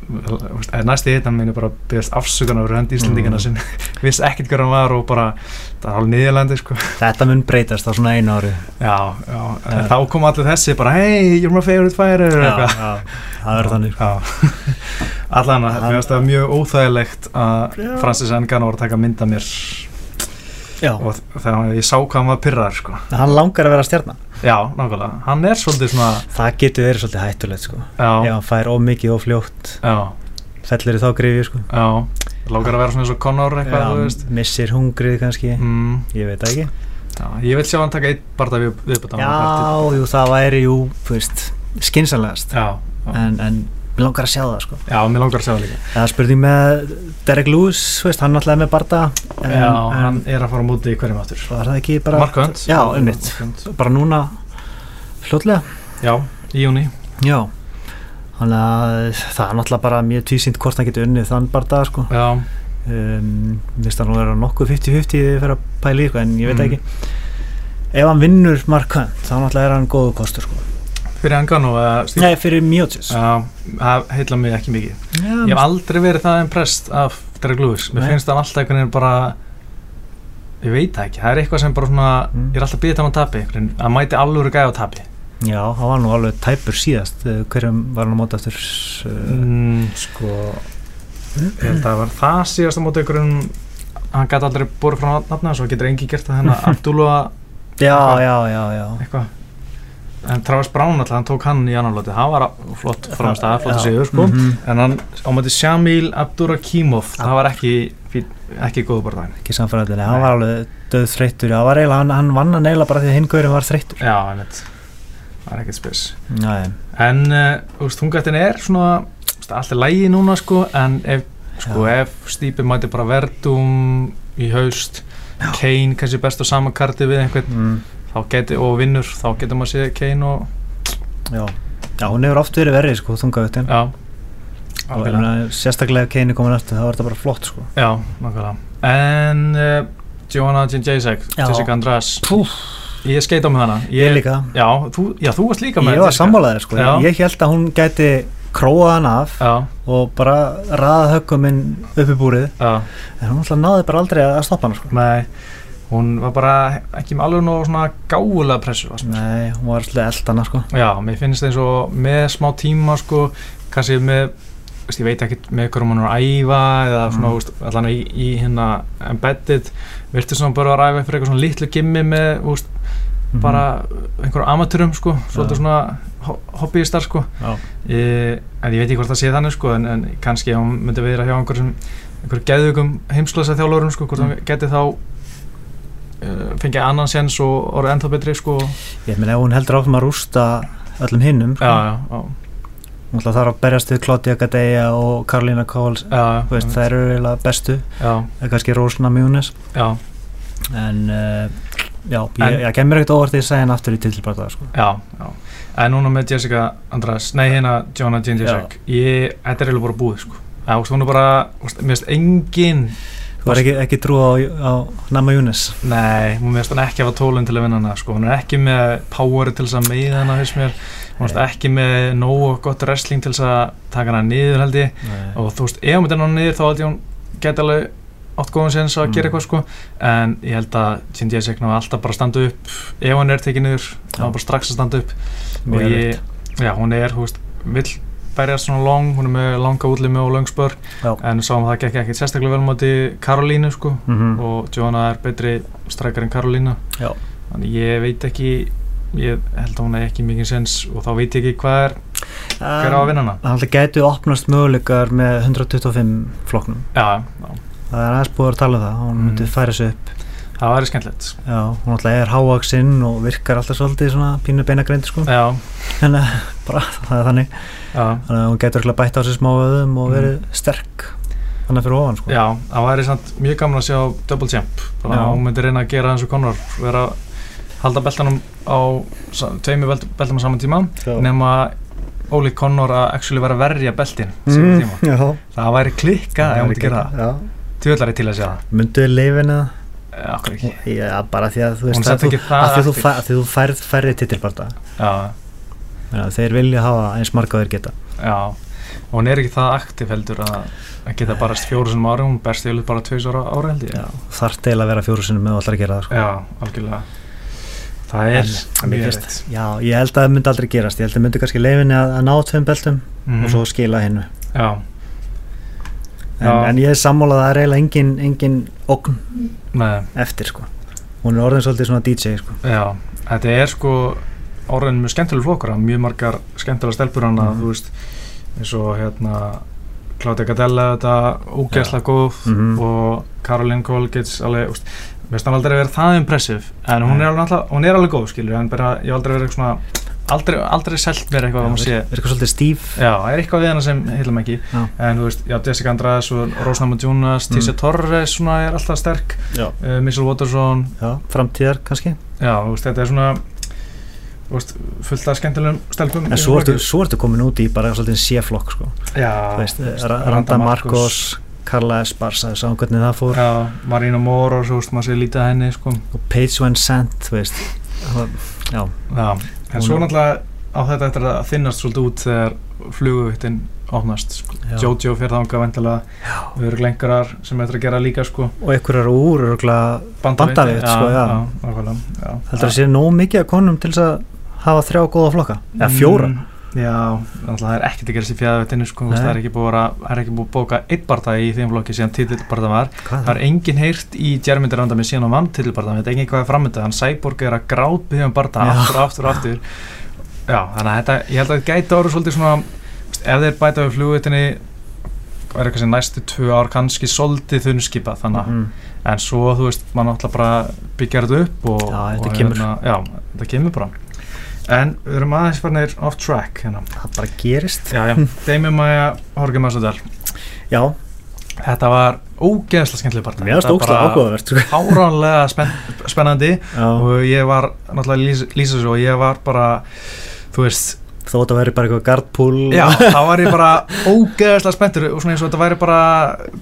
[SPEAKER 1] þú veist, eða næsti hittan mínu bara byrðast afsökunar fyrir hönd Íslandingana
[SPEAKER 2] Mm.
[SPEAKER 1] sem vissi ekkert hver hann var og bara það var alveg niðurlandi sko
[SPEAKER 2] Þetta mun breytast á svona einu ári
[SPEAKER 1] já, já, en
[SPEAKER 2] Já.
[SPEAKER 1] þá kom allir þessi bara hey you're my favorite fighter
[SPEAKER 2] Já,
[SPEAKER 1] og eitthvað
[SPEAKER 2] já, það verður þannig sko.
[SPEAKER 1] Já. Allan að
[SPEAKER 2] Hann-
[SPEAKER 1] mér finnst það mjög óþægilegt að
[SPEAKER 2] Já.
[SPEAKER 1] Francis Ngannou var að taka mynd af mér
[SPEAKER 2] Já,
[SPEAKER 1] og þegar ég sá hvað hann var pyrrar sko.
[SPEAKER 2] hann langar að vera stjarnan
[SPEAKER 1] Já, nákvæmlega, hann er svolítið svona
[SPEAKER 2] Það getur verið svolítið hættulegt sko Ef
[SPEAKER 1] Já,
[SPEAKER 2] hann fær ómikið og fljótt
[SPEAKER 1] já,
[SPEAKER 2] Fellir í þá grifju sko
[SPEAKER 1] já Lákar að vera svona eins og Conor eitthvað, þú veist
[SPEAKER 2] missir hungrið kannski
[SPEAKER 1] mm,
[SPEAKER 2] Ég veit það ekki
[SPEAKER 1] já, Ég vil sjá hann taka einn barða við uppbæta
[SPEAKER 2] Já, jú, það væri jú, þú veist, skinsanlegast
[SPEAKER 1] já, já,
[SPEAKER 2] en, en mér langar að sjá það sko
[SPEAKER 1] já, mér langar að sjá það líka
[SPEAKER 2] Það er spurning með Derek Lewis, þú veist, hann náttúrulega er með Barda en,
[SPEAKER 1] Já,
[SPEAKER 2] en
[SPEAKER 1] hann er að fara á móti í hverjum aftur
[SPEAKER 2] Var það ekki bara,
[SPEAKER 1] Mark Hunt
[SPEAKER 2] Já, einmitt.
[SPEAKER 1] Mark Hunt.
[SPEAKER 2] bara núna fljótlega
[SPEAKER 1] Já, í júni
[SPEAKER 2] Já Þannig að það er náttúrulega bara mjög tvísýnt hvort hann getur unnið þann barða sko.
[SPEAKER 1] Já,
[SPEAKER 2] um, Vist hann að vera nokkuð 50-50 þegar fyrir að pæla í sko, en ég veit
[SPEAKER 1] Mm.
[SPEAKER 2] ekki Ef hann vinnur Mark Hunt, þá náttúrulega er hann góðu kostur sko.
[SPEAKER 1] fyrir Ngannou eða Steve-
[SPEAKER 2] Nei, fyrir Miotis
[SPEAKER 1] Já, það heilla mig ekki mikið Ég hef
[SPEAKER 2] Já,
[SPEAKER 1] aldrei verið það impressed af Derek Lewis Mér
[SPEAKER 2] Nei.
[SPEAKER 1] finnst hann alltaf einhvern veginn bara Ég veit það ekki, það er eitthvað sem bara svona
[SPEAKER 2] Mm.
[SPEAKER 1] Ég er alltaf býðið hann á tapi einhvern veginn. Að mæti alvöru gæði á tapi
[SPEAKER 2] Já, það var nú alveg tæpur síðast Eh, hverjum var hann á móti aftur mm.
[SPEAKER 1] mm, sko ég held að það var það síðasta móti ykkur um hann gæti aldrei borð frá nafna svo getur engi gert það hennar Abdullah
[SPEAKER 2] Já, já, já, já
[SPEAKER 1] eitthvað en Travis Brown alltaf, hann tók hann í annan lóti það var flott framstæða, flott
[SPEAKER 2] Já.
[SPEAKER 1] sigur sko
[SPEAKER 2] Mhm.
[SPEAKER 1] en hann á móti Shamil Abdurakimov það var ekki fín- ekki góð borðan
[SPEAKER 2] ekki samfæðan, hann var alveg döð þreyttur, hann var eiginlega, hann, hann vann hann eiginlega bara því að hingurinn var þreyttur
[SPEAKER 1] já, en þetta var ekkert spes
[SPEAKER 2] Nei,
[SPEAKER 1] en, eh, þú veist, þungatinn er svona þú veist, allt er lægi núna sko en ef, sko, ef Stípi mæti bara Verdum í haust Kane kannski best á sama karti við einhvern
[SPEAKER 2] mm,
[SPEAKER 1] þá geti, og vinnur, þá getur maður séð Kane og,
[SPEAKER 2] já Já, hún hefur oft verið verið, sko, þungaðutin
[SPEAKER 1] já
[SPEAKER 2] og ég meina, sérstaklega ef Kane er komin aftur, það var þetta bara flott, sko
[SPEAKER 1] Já, nákvæmlega En uh, Johanna Jean Jacek,
[SPEAKER 2] Já.
[SPEAKER 1] Jessica András
[SPEAKER 2] Púf,
[SPEAKER 1] Ég skeita með hana
[SPEAKER 2] ég líka
[SPEAKER 1] Já, þú, já, þú varst líka með
[SPEAKER 2] Ég var
[SPEAKER 1] Jessica.
[SPEAKER 2] sammálaðið, sko,
[SPEAKER 1] Já.
[SPEAKER 2] ég held að hún gæti króað hann af
[SPEAKER 1] Já,
[SPEAKER 2] og bara raða höggum inn upp í búrið
[SPEAKER 1] já,
[SPEAKER 2] en hún alltaf náði bara aldrei að stoppa hann, sko
[SPEAKER 1] nei Hún var bara ekki með alveg nóg svona gáulega pressu var.
[SPEAKER 2] Nei, hún var alltaf eldana, sko
[SPEAKER 1] Já, mér finnst eins og með smá tíma sko, kannski með veist, ég veit ekkert með hverjum hún er að æfa eða svona,
[SPEAKER 2] Mm.
[SPEAKER 1] mm. allan í, í hérna embedded, virtist svona bara að ræfa fyrir eitthvað svona litlu gimmi með úst,
[SPEAKER 2] Mhm.
[SPEAKER 1] bara einhverjum amatúrum sko,
[SPEAKER 2] Já.
[SPEAKER 1] svolítið svona ho- hobbyistar sko
[SPEAKER 2] Mm, Já.
[SPEAKER 1] e, en ég veit ekki hvort það sé þannig sko en, en kannski ef hún myndi vera hjá einhverjum einhverjum geðugum heimslösa þjálfurum sko hvort
[SPEAKER 2] Mm.
[SPEAKER 1] hann geti þá e, fengið annan séns og orðið ennþá betri sko
[SPEAKER 2] Ég meina, ef hún heldur áfram að rústa öllum hinnum, sko.
[SPEAKER 1] já, já, já,
[SPEAKER 2] Hún ætla þarf að berjast við Claudia Gadea og Karolina Káls
[SPEAKER 1] já,
[SPEAKER 2] þú veist, það eru eiginlega bestu
[SPEAKER 1] já,
[SPEAKER 2] eða kannski Rósna Mjúnes
[SPEAKER 1] já,
[SPEAKER 2] en uh, já, ég,
[SPEAKER 1] En-
[SPEAKER 2] ég kemur ekkert óvart því að segja hann aftur í titilbarða sko.
[SPEAKER 1] já, já en núna með Jessica Andras nei hérna Johanna Jean Jacek ég, þetta er eiginlega bara búið sko Já, þú veist, hún er bara, þú veist, mér finnst engin
[SPEAKER 2] þú er ekki, ekki trú á, á Nama Mjúnes
[SPEAKER 1] Nei, hún veist hann ekki hafa tólun til að vinna hana sko. hún er ekki með power til þess að meiða hana fyrst mér, hún veist
[SPEAKER 2] Nei.
[SPEAKER 1] ekki með nógu og gott wrestling til þess að taka hana niður held ég
[SPEAKER 2] og
[SPEAKER 1] og þú veist, ef hún myndi hana niður þá held ég hún geti alveg átt góðan séns að
[SPEAKER 2] Mm.
[SPEAKER 1] gera eitthvað sko en ég held að Cindy Jacek ná alltaf bara að standa upp ef hún er tekið niður, þá
[SPEAKER 2] Já.
[SPEAKER 1] er bara strax að standa upp
[SPEAKER 2] Mjög
[SPEAKER 1] og ég, já hún er, þú veist vill berjast svona long, hún er með langa útlimi og löng spör
[SPEAKER 2] Já.
[SPEAKER 1] en sáum að það gekk ekki sérstaklega vel mátti Karolínu sko
[SPEAKER 2] mm
[SPEAKER 1] og Johanna er betri strækar en Karolína
[SPEAKER 2] Já.
[SPEAKER 1] þannig ég veit ekki ég held að hún er ekki mikið sens og þá veit ég ekki hvað er hver á að vinna hana
[SPEAKER 2] Það gætu opnast möguleikar með 125 flokknum
[SPEAKER 1] já, já,
[SPEAKER 2] það er aðeins búið að tala um það hún
[SPEAKER 1] Mm.
[SPEAKER 2] myndi færa sig upp
[SPEAKER 1] það væri skemmtilegt
[SPEAKER 2] já, hún alltaf er hávaksinn og virkar alltaf svolítið svona pínu beinagreind sko.
[SPEAKER 1] já,
[SPEAKER 2] þannig að bara það er þannig
[SPEAKER 1] já,
[SPEAKER 2] þannig að hún getur ekki bætt á sig smá öðum og
[SPEAKER 1] Mm.
[SPEAKER 2] verið sterk þannig fyrir ofan sko.
[SPEAKER 1] já það væri samt mjög gaman að sjá Double Champ þannig
[SPEAKER 2] Já.
[SPEAKER 1] að hún myndi reyna að gera eins og konar vera að halda beltanum á sa- tveimur belt, beltum á saman tíma nema Óli Connor að actually vera að verja beltin mm. tíma.
[SPEAKER 2] já,
[SPEAKER 1] það væri klikka ef hún myndi gera það
[SPEAKER 2] já.
[SPEAKER 1] tjóðlari til að sjá
[SPEAKER 2] mynduðu leifin eða
[SPEAKER 1] það okkur ekki
[SPEAKER 2] já, bara því að þú
[SPEAKER 1] hún
[SPEAKER 2] veist að
[SPEAKER 1] sett
[SPEAKER 2] þú,
[SPEAKER 1] ekki
[SPEAKER 2] að
[SPEAKER 1] það
[SPEAKER 2] því að þú,
[SPEAKER 1] eftir.
[SPEAKER 2] fæ, að því þú færð færri titilbarta
[SPEAKER 1] já,
[SPEAKER 2] þeir vilja hafa eins marga þeir geta
[SPEAKER 1] Já, og hún er ekki það aktiv heldur að, að geta barast fjóru sem ári, hún berst yfirleitt bara tveis ára ára held ég.
[SPEAKER 2] já, þarf til að vera fjóru sinni með og allar að gera það sko.
[SPEAKER 1] Já, algjörlega. Það er
[SPEAKER 2] En mér
[SPEAKER 1] mjög
[SPEAKER 2] finnst-
[SPEAKER 1] erfitt.
[SPEAKER 2] já, ég held að það myndi aldrei gerast ég held að myndi kannski leifinni að, að ná tveim beltum
[SPEAKER 1] Mhm.
[SPEAKER 2] og svo skila hinnu
[SPEAKER 1] Já,
[SPEAKER 2] en,
[SPEAKER 1] Já.
[SPEAKER 2] en ég er sammálað að það er eiginlega engin, engin ógn
[SPEAKER 1] með,
[SPEAKER 2] eftir sko. hún er orðin svolítið svona DJ sko.
[SPEAKER 1] já, þetta er sko orðin mjög skemmtileg flokkur að mjög margar skemmtilega stelpur hann að
[SPEAKER 2] Mhm.
[SPEAKER 1] þú veist, eins og hérna Claudia Gadella, þetta ógeðslega góð
[SPEAKER 2] Mhm.
[SPEAKER 1] og Caroline Colgates alveg, úst, mér finnst hann aldrei að vera það impressiv en hún
[SPEAKER 2] Nei.
[SPEAKER 1] er alveg, alltaf, hún er alveg góð skilur, en bara ég hef aldrei verið svona aldrei, aldrei selt mér eitthvað um að maður sé
[SPEAKER 2] Virk- virkar svolítið stíf
[SPEAKER 1] Já, það er eitthvað við hana sem heilum ekki
[SPEAKER 2] Já.
[SPEAKER 1] en þú veist, já, Jessica Andrade og Rosna Madunas,
[SPEAKER 2] Mm.
[SPEAKER 1] Tisha Torres svona er alltaf sterk,
[SPEAKER 2] Já.
[SPEAKER 1] uh, Missel Watterson
[SPEAKER 2] Já, framtíðar kannski
[SPEAKER 1] já, þú veist, þetta er svona þú veist, fullt af skemmtilegum stelpum
[SPEAKER 2] En svo ertu, svo ertu komin út í bara svolítið C-flokk sko.
[SPEAKER 1] já,
[SPEAKER 2] Þú veist,
[SPEAKER 1] þú veist,
[SPEAKER 2] Ra- Randa Marcos, Karla Esparza Sá hvernig það fór
[SPEAKER 1] já, Marina Moros, þú veist, maður sé lítið að henni sko.
[SPEAKER 2] Og Paige Van Sant þú veist. Það- Já,
[SPEAKER 1] já, en svo
[SPEAKER 2] Hún-
[SPEAKER 1] náttúrulega á þetta eftir að þinnast svolítið út þegar fluguvittin opnast sko.
[SPEAKER 2] já.
[SPEAKER 1] Jojo fyrir þanga vendilega við erum lengarar sem eftir að gera líka sko.
[SPEAKER 2] Og einhverjar úr örgla,
[SPEAKER 1] Bandaveitt,
[SPEAKER 2] Bandaveitt, sko, já.
[SPEAKER 1] já, nákvæmlega, já.
[SPEAKER 2] Heldur það sé nóg mikið að konum til þess að hafa þrjá góða flokka eða fjóra
[SPEAKER 1] Mm, Já, náttúrulega það er ekkert að gera sér fjæðavetinu sko, þú veist,
[SPEAKER 2] Nei.
[SPEAKER 1] það er ekki búið að, vera- það er ekki búið að bóka einn barða í þeim flokki síðan titilbarða var
[SPEAKER 2] Hvað
[SPEAKER 1] Það er enginn heyrt í Jermyndir andamið síðan á vann titilbarðan, veit enginn hvað er framöndað, hann Cyborg er að grátbyggja um barða
[SPEAKER 2] Já.
[SPEAKER 1] aftur og aftur og aftur. Já, þannig að þetta, ég held að þetta gæti orðið svolítið svona, ef þeir bæta við flugvitinni, verður kannski næstu tvö ár kannski svolítið þunnskipa, þannig að,
[SPEAKER 2] mm.
[SPEAKER 1] en svo, þú veist, mann náttúrulega bara byggja þetta upp og...
[SPEAKER 2] Já, þetta
[SPEAKER 1] og,
[SPEAKER 2] kemur.
[SPEAKER 1] hérna, Já, þetta kemur bara. En við erum aðeins farnir off track, hérna.
[SPEAKER 2] það bara gerist
[SPEAKER 1] Já, já, Deimi Maja, Horgi Massadal,
[SPEAKER 2] já,
[SPEAKER 1] þetta var ógeðslega skemmtileg barða.
[SPEAKER 2] mér varst ógstlega ágóðavert sko.
[SPEAKER 1] Háránlega spenn, spennandi
[SPEAKER 2] Já,
[SPEAKER 1] og ég var náttúrulega að lýsa- lýsa þessu og ég var bara þú veist,
[SPEAKER 2] þó að það væri bara eitthvað gardpúl
[SPEAKER 1] já, þá var ég bara ógeðslega spenntur og svona eins og þetta væri bara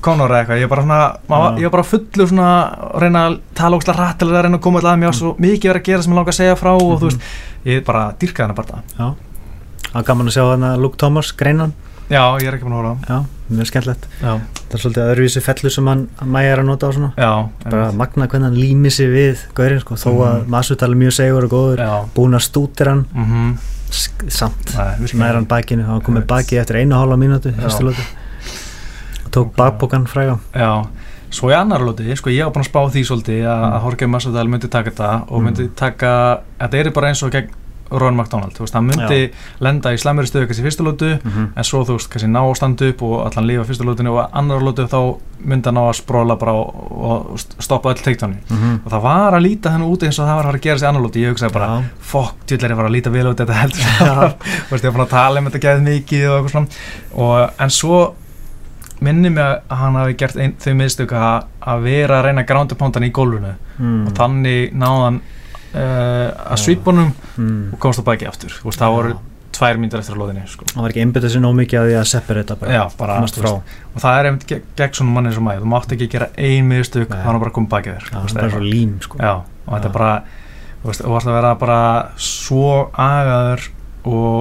[SPEAKER 1] Conor eða eitthvað, ég var bara svona maður, var-
[SPEAKER 2] Já.
[SPEAKER 1] ég var bara fullur svona að reyna að tala ógeðslega rætt til að reyna að koma alltaf að mér var svo mikið verið að gera sem ég langa að segja frá og
[SPEAKER 2] Mhm.
[SPEAKER 1] þú veist, ég bara dýrkaði hana bara
[SPEAKER 2] já. það er gaman að sjá hana Luke Thomas greinan
[SPEAKER 1] já, ég er ekki búin að hóra
[SPEAKER 2] já, mjög skemmtlegt
[SPEAKER 1] já,
[SPEAKER 2] það er svolítið öðruvísi fellu sem hann mæja er að nota á svona
[SPEAKER 1] já,
[SPEAKER 2] bara
[SPEAKER 1] einmitt.
[SPEAKER 2] magna hvernig hann lími sig við gaurinn sko, þó að
[SPEAKER 1] Mhm.
[SPEAKER 2] mm. Masutal er mjög segur og góður
[SPEAKER 1] já,
[SPEAKER 2] búin að stútir hann
[SPEAKER 1] mhm,
[SPEAKER 2] sk- samt
[SPEAKER 1] það er
[SPEAKER 2] nær hann bakinu, hann kom með baki eftir einu og hálfa mínútu
[SPEAKER 1] Já.
[SPEAKER 2] fyrstu lóti og tók
[SPEAKER 1] Ok.
[SPEAKER 2] bakbókan fræga
[SPEAKER 1] Já, svo í annar lóti, sko ég var búinn að spá því svolítið að mm. Jorge Masvidal myndi taka þetta og
[SPEAKER 2] Mm.
[SPEAKER 1] myndi taka, þetta er bara eins og gegn Ron McDonald, þú veist, hann myndi lenda í slæmur stöðu kannski í fyrstu lótu en svo þú veist, kannski ná að standa upp og allan lífa fyrstu lótinu og annar lótu þá myndi hann ná að spróla bara og, og st- stoppa öll teiktónu
[SPEAKER 2] Mhm.
[SPEAKER 1] og það var að líta hennu út eins og það var að fara að gera sér annar lóti, ég hugsaði bara
[SPEAKER 2] Já.
[SPEAKER 1] fokk, djúlega er ég var að líta vel út þetta heldur
[SPEAKER 2] Já.
[SPEAKER 1] Þú veist, ég var fann að tala um þetta gæðið mikið og eitthvað svona og, en svo minni mig að hann hafi gert ein, þau miðstök að, að vera að reyna að gránda pándan í gólfinu
[SPEAKER 2] mm.
[SPEAKER 1] og þannig náðan uh, að
[SPEAKER 2] Já.
[SPEAKER 1] svipunum
[SPEAKER 2] mm.
[SPEAKER 1] og komst á baki aftur Þú veist, það
[SPEAKER 2] Já.
[SPEAKER 1] voru tvær mínútur eftir að loðinni sko.
[SPEAKER 2] hann var ekki einbyttið sér nóg mikið að því að separata bara,
[SPEAKER 1] Já, bara,
[SPEAKER 2] komast
[SPEAKER 1] þú
[SPEAKER 2] frá
[SPEAKER 1] og það er einmitt gegn, gegn svona manni sem maður þú mátt ekki gera ein miðstök
[SPEAKER 2] Nei.
[SPEAKER 1] þá er hann bara að koma baki þér
[SPEAKER 2] Já,
[SPEAKER 1] Þú veist,
[SPEAKER 2] hann er bara
[SPEAKER 1] eitthvað.
[SPEAKER 2] svo lím sko.
[SPEAKER 1] Já, og þetta
[SPEAKER 2] Já.
[SPEAKER 1] er bara þú veist, þú varst að vera bara svo agaður og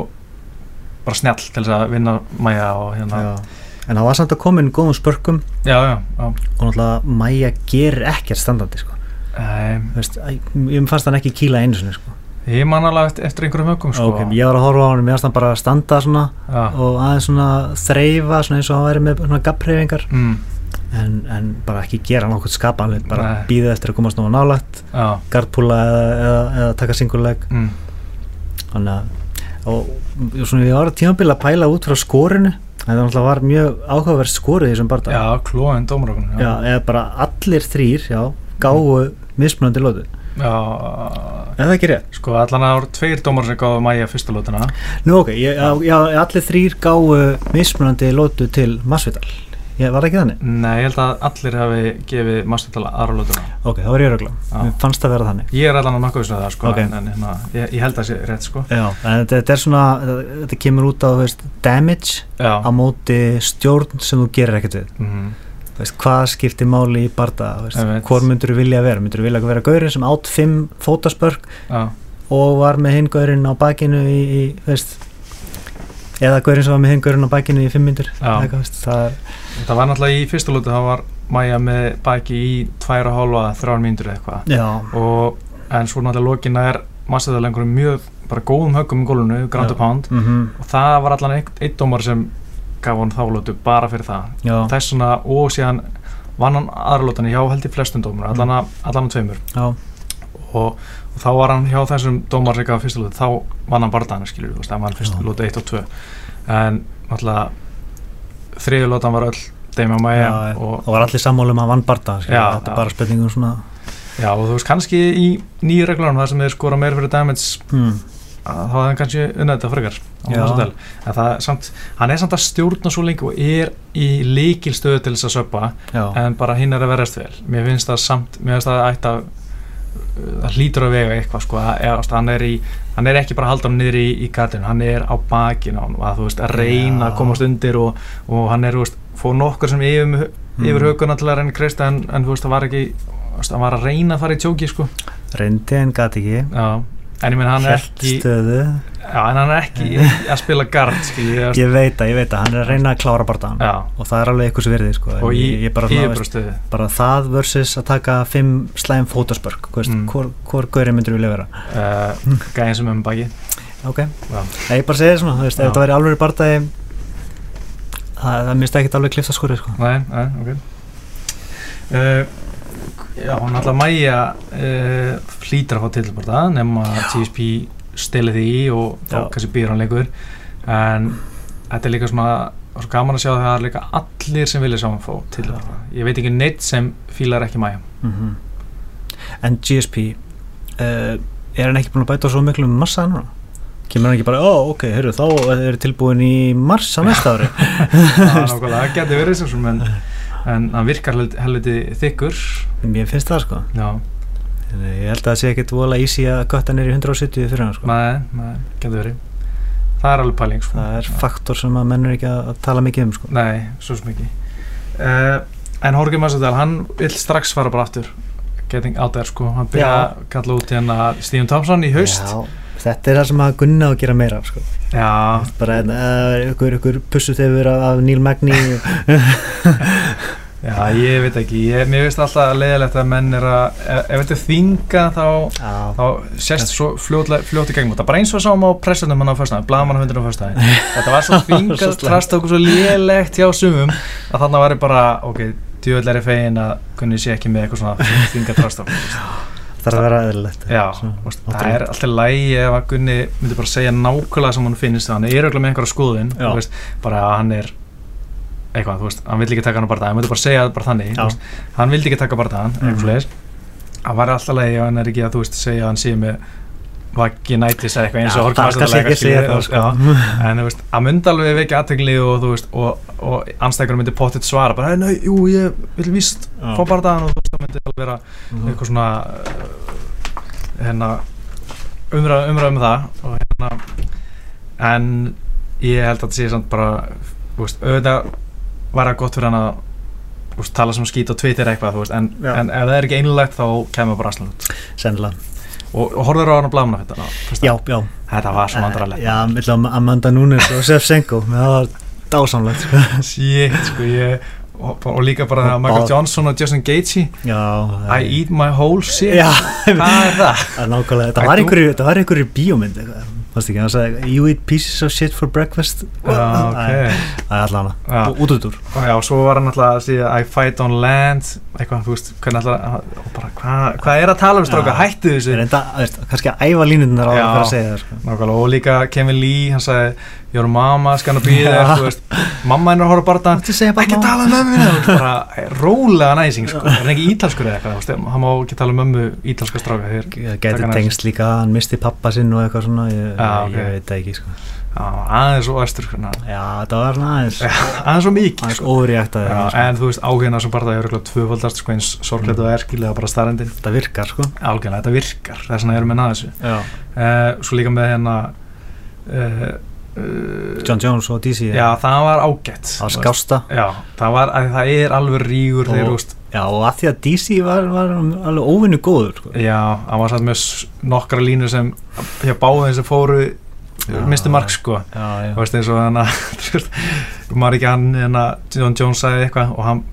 [SPEAKER 1] bara snjall til þess að vinna mæja og hérna já,
[SPEAKER 2] Já. en hann var samt að koma inn góðum spörkum
[SPEAKER 1] já, já, já.
[SPEAKER 2] og náttúrulega Maja gerir ekkert standandi sko.
[SPEAKER 1] Um,
[SPEAKER 2] Þú veist, æ, ég fannst hann ekki kýla einu sinni sko.
[SPEAKER 1] ég man alveg eftir, eftir einhverjum högum sko.
[SPEAKER 2] Ok, ég var að horfa á hann, mér fannst hann bara að standa svona
[SPEAKER 1] já.
[SPEAKER 2] og aðeins svona þreyfa svona eins og hann væri með svona gappreyfingar
[SPEAKER 1] Mm,
[SPEAKER 2] en, en bara ekki gera nokkuð skapanlega bara
[SPEAKER 1] Nei.
[SPEAKER 2] býða eftir að komast nú nálægt
[SPEAKER 1] já,
[SPEAKER 2] gardpúla eða, eða, eða taka singuleg
[SPEAKER 1] mm,
[SPEAKER 2] þannig að og, og svona ég var að tímabila að pæla út frá skorinu en það náttúrulega var mjög áhugaverð skorið í þessum barða
[SPEAKER 1] já klóðin dómarökun
[SPEAKER 2] já, eða bara allir þrýr já, gáu mismunandi lótu
[SPEAKER 1] já,
[SPEAKER 2] eða ekki rétt
[SPEAKER 1] sko allan að það voru tveir dómar sem gáðu mæja fyrsta lótuna
[SPEAKER 2] nú ok, ég, já, já, allir þrýr gáu mismunandi lótu til Masvidal ég var það ekki þannig
[SPEAKER 1] nei, ég held að allir hafi gefið mastutala aðra lótuna
[SPEAKER 2] ok, það var ég rögla,
[SPEAKER 1] Já.
[SPEAKER 2] mér fannst það vera þannig
[SPEAKER 1] ég er allan að makka þessu það sko,
[SPEAKER 2] Ok.
[SPEAKER 1] en, en hérna, ég, ég held að sé rétt sko
[SPEAKER 2] Já, en þetta, þetta er svona, þetta kemur út á þú veist, damage
[SPEAKER 1] já,
[SPEAKER 2] á móti stjórn sem þú gerir ekkert við.
[SPEAKER 1] mhm,
[SPEAKER 2] Þú Veist, hvað skiptir máli í barða,
[SPEAKER 1] Einmitt.
[SPEAKER 2] hvað myndur þú vilja vera? Myndur þú vilja vera gaurinn sem átt fimm fótaspörk
[SPEAKER 1] já
[SPEAKER 2] og var með hinn gaurinn á bakinu í, í þú veist, eða gaurinn sem var með hinn gaurinn á bakinu í fimm myndur?
[SPEAKER 1] Já.
[SPEAKER 2] Það er,
[SPEAKER 1] Það var náttúrulega í fyrsta lótu, þá var Maja með baki í tvær og hálfa, þrjár mínútur eða eitthvað.
[SPEAKER 2] já,
[SPEAKER 1] Og, en svo náttúrulega lokina er massið einhverjum mjög bara góðum höggum í gólunu, ground
[SPEAKER 2] Já.
[SPEAKER 1] and pound.
[SPEAKER 2] mm
[SPEAKER 1] Og það var allan einn ein dómar sem gaf hann þá lótu bara fyrir það.
[SPEAKER 2] já,
[SPEAKER 1] Þess svona, og síðan vann hann aðra lótan hjá held í flestum dómar, allan
[SPEAKER 2] Mm.
[SPEAKER 1] að, allan að tveimur.
[SPEAKER 2] já,
[SPEAKER 1] Og, og þá var hann hjá þessum dómar sem gaf fyrsta lótu, þá vann hann barðana, skilur við, þú veist, það var fyrsta
[SPEAKER 2] Já.
[SPEAKER 1] lótu 1 og 2. En náttúrulega þriðu lótan var öll Deimja Maja
[SPEAKER 2] Já, já.
[SPEAKER 1] og
[SPEAKER 2] og var allir sammála um að vann barða, skilur,
[SPEAKER 1] Já, já.
[SPEAKER 2] þetta er bara spurningum svona,
[SPEAKER 1] Já, og þú veist, kannski í nýju reglunum þar sem þeir skora meira fyrir damage
[SPEAKER 2] hmm,
[SPEAKER 1] að þá hefði hann kannski unnað þetta frekar á
[SPEAKER 2] Já.
[SPEAKER 1] Marsadal. en það er samt, hann er samt að stjórna svo lengi og er í líkilstöðu til þess að söppa,
[SPEAKER 2] já,
[SPEAKER 1] en bara hinn er að verðast vel mér finnst það samt, mér finnst það ætti að það hlýtur að vega eitthvað sko, að, eða, þú veist, hann, er í, hann er ekki bara að halda hann niður í, í gardinu, hann er á bakinu á hann, að þú veist, að reyna
[SPEAKER 2] Já.
[SPEAKER 1] að komast undir og, og hann er, þú veist, fóð nokkur sem yfir, með- yfir
[SPEAKER 2] Mm.
[SPEAKER 1] huguna til að reyna að kreista en, en þú veist, það var ekki þú veist, hann var að reyna að fara í tjóki, sko
[SPEAKER 2] reyndi en gati ekki,
[SPEAKER 1] Já, en ég menn hann er
[SPEAKER 2] Hélt
[SPEAKER 1] ekki
[SPEAKER 2] stöðu,
[SPEAKER 1] Já, en hann er ekki að spila gard, skiljið.
[SPEAKER 2] ég veit að, ég veit að, hann er að reyna að klára barðan
[SPEAKER 1] Já,
[SPEAKER 2] og það er alveg eitthvað sem verðið sko. en
[SPEAKER 1] og í,
[SPEAKER 2] ég, ég bara,
[SPEAKER 1] í
[SPEAKER 2] svona, veist,
[SPEAKER 1] yfirstöðu.
[SPEAKER 2] bara það versus að taka fimm slæm fótaspörk hvað veist,
[SPEAKER 1] Mm.
[SPEAKER 2] hvor, hvor gaurið myndur vilja vera
[SPEAKER 1] Uh, gæðin sem er með baki.
[SPEAKER 2] ok,
[SPEAKER 1] Já.
[SPEAKER 2] Nei, ég bara segi svona, þú veist,
[SPEAKER 1] Já.
[SPEAKER 2] ef það væri alveg barðaði það, það minnst ekkert alveg klifta skorið sko.
[SPEAKER 1] Nei, nei, ok. Uh, já, hún alltaf mæja uh, flýtir að fá tilbúrta nema að TSP stelið því í og þá
[SPEAKER 2] Já.
[SPEAKER 1] kannski býr hann lengur en þetta er líka svona og svo gaman að sjá að það er líka allir sem vilja sjá hann fá tilbúrta. Ég veit ekki neitt sem fílar ekki mæja.
[SPEAKER 2] mm en GSP uh, er hann ekki búin að bæta svo miklu um massa núna? kemur hann ekki bara, ó ok, heyrðu, þá er tilbúin í mars á næsta ári
[SPEAKER 1] Það er nákvæmlega, það getur verið sem svona en, en hann virkar held- helviti þykkur.
[SPEAKER 2] mér finnst það sko
[SPEAKER 1] Já,
[SPEAKER 2] Þannig, ég held að það sé ekkert vola easy að götta er í 170 fyrir hann sko
[SPEAKER 1] nei, nei, getur verið. Það er alveg pæling sko.
[SPEAKER 2] það er
[SPEAKER 1] Já.
[SPEAKER 2] faktor sem að mennur ekki að að tala mikið um sko
[SPEAKER 1] Nei, svo sem ekki uh, En Jorge Massadal, hann vill strax fara bara aftur Getting out there sko Hann byrja
[SPEAKER 2] Já.
[SPEAKER 1] að kalla út hérna Stephen Thompson í haust Já,
[SPEAKER 2] Já, þetta er það sem að gunna á að gera meira af, sko.
[SPEAKER 1] já,
[SPEAKER 2] bara eh, ykkur, ykkur pussu þegar af Neil Magni
[SPEAKER 1] ég veit ekki ég, Mér veist alltaf leiðilegt að menn er að Ef, ef þetta er þinga þá
[SPEAKER 2] Já,
[SPEAKER 1] þá sést svo fljótlega, fljóti gegnum þetta bara eins og sáum á pressunum hann á fyrstaði blaman á hundinu á fyrstaði þetta var svo
[SPEAKER 2] Svo
[SPEAKER 1] þvingað
[SPEAKER 2] slæmt.
[SPEAKER 1] trast okkur svo lélegt hjá sumum að þarna væri bara ok, djöðlega er ég fegin að kunni sé ekki með eitthvað svona þvingað trast okkur
[SPEAKER 2] það er að vera eðlilegt
[SPEAKER 1] Já,
[SPEAKER 2] Svona,
[SPEAKER 1] veist, það
[SPEAKER 2] náttúrulega.
[SPEAKER 1] er alltaf lægi ef að Gunni myndi bara segja nákvæmlega sem hann finnist þannig, ég er auðvitað með einhverja skoðun
[SPEAKER 2] Já.
[SPEAKER 1] þú veist, bara að hann er eitthvað, þú veist, hann vill ekki taka hann á barða hann myndi bara segja það bara þannig,
[SPEAKER 2] Já.
[SPEAKER 1] þú veist, hann vildi ekki taka barða hann,
[SPEAKER 2] Mhm.
[SPEAKER 1] eitthvað leis hann var alltaf lægi ef hann er ekki að, þú veist, segja að hann sé með vaggi nætis eða eitthvað eins og
[SPEAKER 2] Já,
[SPEAKER 1] Jorge
[SPEAKER 2] það er
[SPEAKER 1] Masvidal
[SPEAKER 2] kannski ekki að
[SPEAKER 1] skilur,
[SPEAKER 2] segja
[SPEAKER 1] þú
[SPEAKER 2] það
[SPEAKER 1] veist,
[SPEAKER 2] sko.
[SPEAKER 1] já. en þú veist, að myndi alveg vekja aðtegli og þú veist, og, og anstækjunum myndi pottitt svara, bara, "Nei, nei, jú, ég vil víst
[SPEAKER 2] Já.
[SPEAKER 1] fá barðaðan og þú veist, það myndi alveg vera eitthvað svona uh, hérna umræð, umræð um það og hérna en ég held að þetta sé samt bara þú veist, auðvitað var það gott fyrir hann að þú veist, tala sem skít og twitter eitthvað þú veist, en,
[SPEAKER 2] Já.
[SPEAKER 1] en ef það er ekki einlægt þá kemur bara aslan út
[SPEAKER 2] sennilega
[SPEAKER 1] og, og horfður á hann að blána þetta ná, fyrst að-
[SPEAKER 2] já, já, Eh,
[SPEAKER 1] þetta var svo mandralegt
[SPEAKER 2] já, millum Amanda Nunes og Sef Senko það var dásamlegt sko.
[SPEAKER 1] shit sko ég og, og líka bara þegar Michael
[SPEAKER 2] Báð-
[SPEAKER 1] Johnson og Justin Gaethje
[SPEAKER 2] já,
[SPEAKER 1] I eat my whole shit
[SPEAKER 2] já,
[SPEAKER 1] hvað er það?
[SPEAKER 2] það er nákvæmlega
[SPEAKER 1] I
[SPEAKER 2] það var
[SPEAKER 1] do-
[SPEAKER 2] einhverju, það var einhverju bíómynd eitthvað. fannst ekki, hann sagði you eat pieces of shit for breakfast
[SPEAKER 1] Já,
[SPEAKER 2] Æ,
[SPEAKER 1] ok
[SPEAKER 2] það er
[SPEAKER 1] Já.
[SPEAKER 2] allan hana, út út úr
[SPEAKER 1] Og já, svo var hann alltaf að segja I fight on land, eitthvað, þú veist, hvernig alltaf, og bara, hvað hva er að tala um stráka,
[SPEAKER 2] Já.
[SPEAKER 1] hættu þessu.
[SPEAKER 2] reynda, veist, kannski að æfa línunar á
[SPEAKER 1] Já.
[SPEAKER 2] það fyrir að segja það sko.
[SPEAKER 1] Nákvæmlega, og líka Kevin Lee, hann sagði, your mama's gonna be there,
[SPEAKER 2] Já.
[SPEAKER 1] þú veist, mamma hennar horf bara það,
[SPEAKER 2] Máttu segja bara
[SPEAKER 1] ekki
[SPEAKER 2] mamma?
[SPEAKER 1] tala um mömmu, þú veist, bara rólega næsing, sko, er hann ekki ítalskur eða eitthvað, þú veist, hann má ekki tala um mömmu ítalska stráka þér.
[SPEAKER 2] Það
[SPEAKER 1] Taka
[SPEAKER 2] gæti
[SPEAKER 1] hann
[SPEAKER 2] tengst líka, hann misti pappa sinn og eitthvað svona, ég,
[SPEAKER 1] Já, ok.
[SPEAKER 2] ég veit það ekki sko.
[SPEAKER 1] Já, aðeins og æstur, svona,
[SPEAKER 2] já, það var svona aðeins
[SPEAKER 1] aðeins og mikið,
[SPEAKER 2] aðeins
[SPEAKER 1] sko.
[SPEAKER 2] óriæktaði
[SPEAKER 1] Já, en þú veist, áhengina sem barða er auðvitað tvöfaldast, sko, eins sorglega
[SPEAKER 2] Mm.
[SPEAKER 1] og erkilega bara starrendin.
[SPEAKER 2] þetta virkar sko.
[SPEAKER 1] Algjörlega, þetta virkar, þess vegna erum við naður þessu.
[SPEAKER 2] já.
[SPEAKER 1] uh, svo líka með hérna uh, uh,
[SPEAKER 2] John Jones og DC
[SPEAKER 1] já, það var ágætt
[SPEAKER 2] á skásta
[SPEAKER 1] já, það var, að það er alveg rígur þegar,
[SPEAKER 2] Og-
[SPEAKER 1] þú veist,
[SPEAKER 2] Já, og að því að DC var, var alveg óvinnu góður sko.
[SPEAKER 1] já, hann var satt með s- nokkra línu sem, hjá báðin sem fóru
[SPEAKER 2] Já.
[SPEAKER 1] misti mark, sko
[SPEAKER 2] Já, já.
[SPEAKER 1] þú veist, eins og hann að, þú veist, maður ekki hann, hérna, John Jones sagði eitthvað og hann,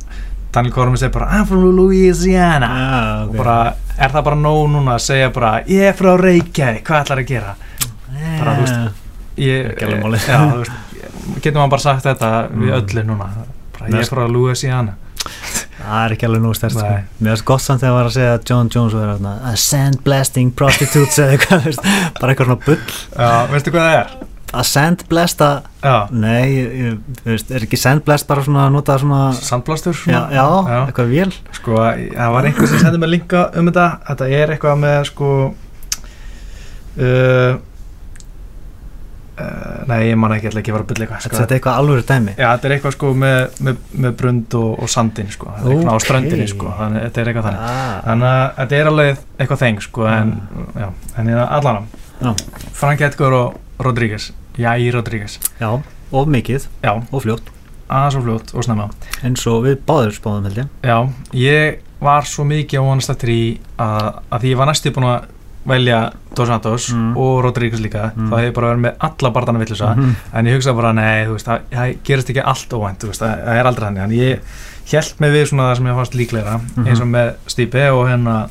[SPEAKER 1] Daniel Cormier segir bara I'm from Louisiana
[SPEAKER 2] Já, Ah,
[SPEAKER 1] og
[SPEAKER 2] ok.
[SPEAKER 1] bara, er það bara nóg núna að segja bara, ég er frá Reykjavík, hvað ætlar að gera bara, þú veist, ég, eh,
[SPEAKER 2] Ekki alveg máli.
[SPEAKER 1] já, þú veist, getur maður bara sagt þetta við
[SPEAKER 2] Mm.
[SPEAKER 1] öllu núna bara, ég
[SPEAKER 2] Nei,
[SPEAKER 1] er frá Louisiana
[SPEAKER 2] Það er ekki alveg nóg stert sko.
[SPEAKER 1] Nei.
[SPEAKER 2] Mér varst gott samt þegar var að segja að John Jones var þarna, a sandblasting prostitutes eða eitthvað, þú veist, bara eitthvað svona bull
[SPEAKER 1] já, veistu hvað það er?
[SPEAKER 2] að sandblasta,
[SPEAKER 1] já,
[SPEAKER 2] nei, ég- ég- þú veist, er ekki sandblast bara svona að nota svona
[SPEAKER 1] sandblástur
[SPEAKER 2] já,
[SPEAKER 1] svona?
[SPEAKER 2] já,
[SPEAKER 1] Já.
[SPEAKER 2] eitthvað vél
[SPEAKER 1] sko, það var einhver sem sendið mér linka um þetta þetta er eitthvað með sko uh, uh, nei, ég man ekki, ég ætla ekki að vera að bylla eitthvað
[SPEAKER 2] Þetta
[SPEAKER 1] sko.
[SPEAKER 2] þetta er eitthvað alvöru dæmi
[SPEAKER 1] já, þetta er eitthvað sko með, með, með brund og, og sandin sko, þetta er eitthvað á
[SPEAKER 2] Ókei.
[SPEAKER 1] ströndinni sko, þannig, þetta er eitthvað þannig
[SPEAKER 2] Ah,
[SPEAKER 1] þannig að þetta er alveg eitthvað þeng sko, en, já, en ég allan
[SPEAKER 2] Já.
[SPEAKER 1] Frank Edgar og Rodríguez Jæi Rodríguez,
[SPEAKER 2] Já, of mikið
[SPEAKER 1] já,
[SPEAKER 2] og fljótt
[SPEAKER 1] aðeins og fljótt og snemma
[SPEAKER 2] eins og við báður spáðum held ég
[SPEAKER 1] já, ég var svo mikið á honast eftir í að, að því ég var næstu búin að velja Dos Santos
[SPEAKER 2] Mm.
[SPEAKER 1] og Rodríguez líka
[SPEAKER 2] Mm.
[SPEAKER 1] þá hefði ég bara verið með alla barndana villusa
[SPEAKER 2] Mhm.
[SPEAKER 1] en ég hugsa bara, nei, þú veist, það, það gerist ekki allt óvænt, þú veist, það, það er aldrei þannig en ég held mig við svona það sem ég fannst líklegra
[SPEAKER 2] Mhm.
[SPEAKER 1] eins og með Stípe og hérna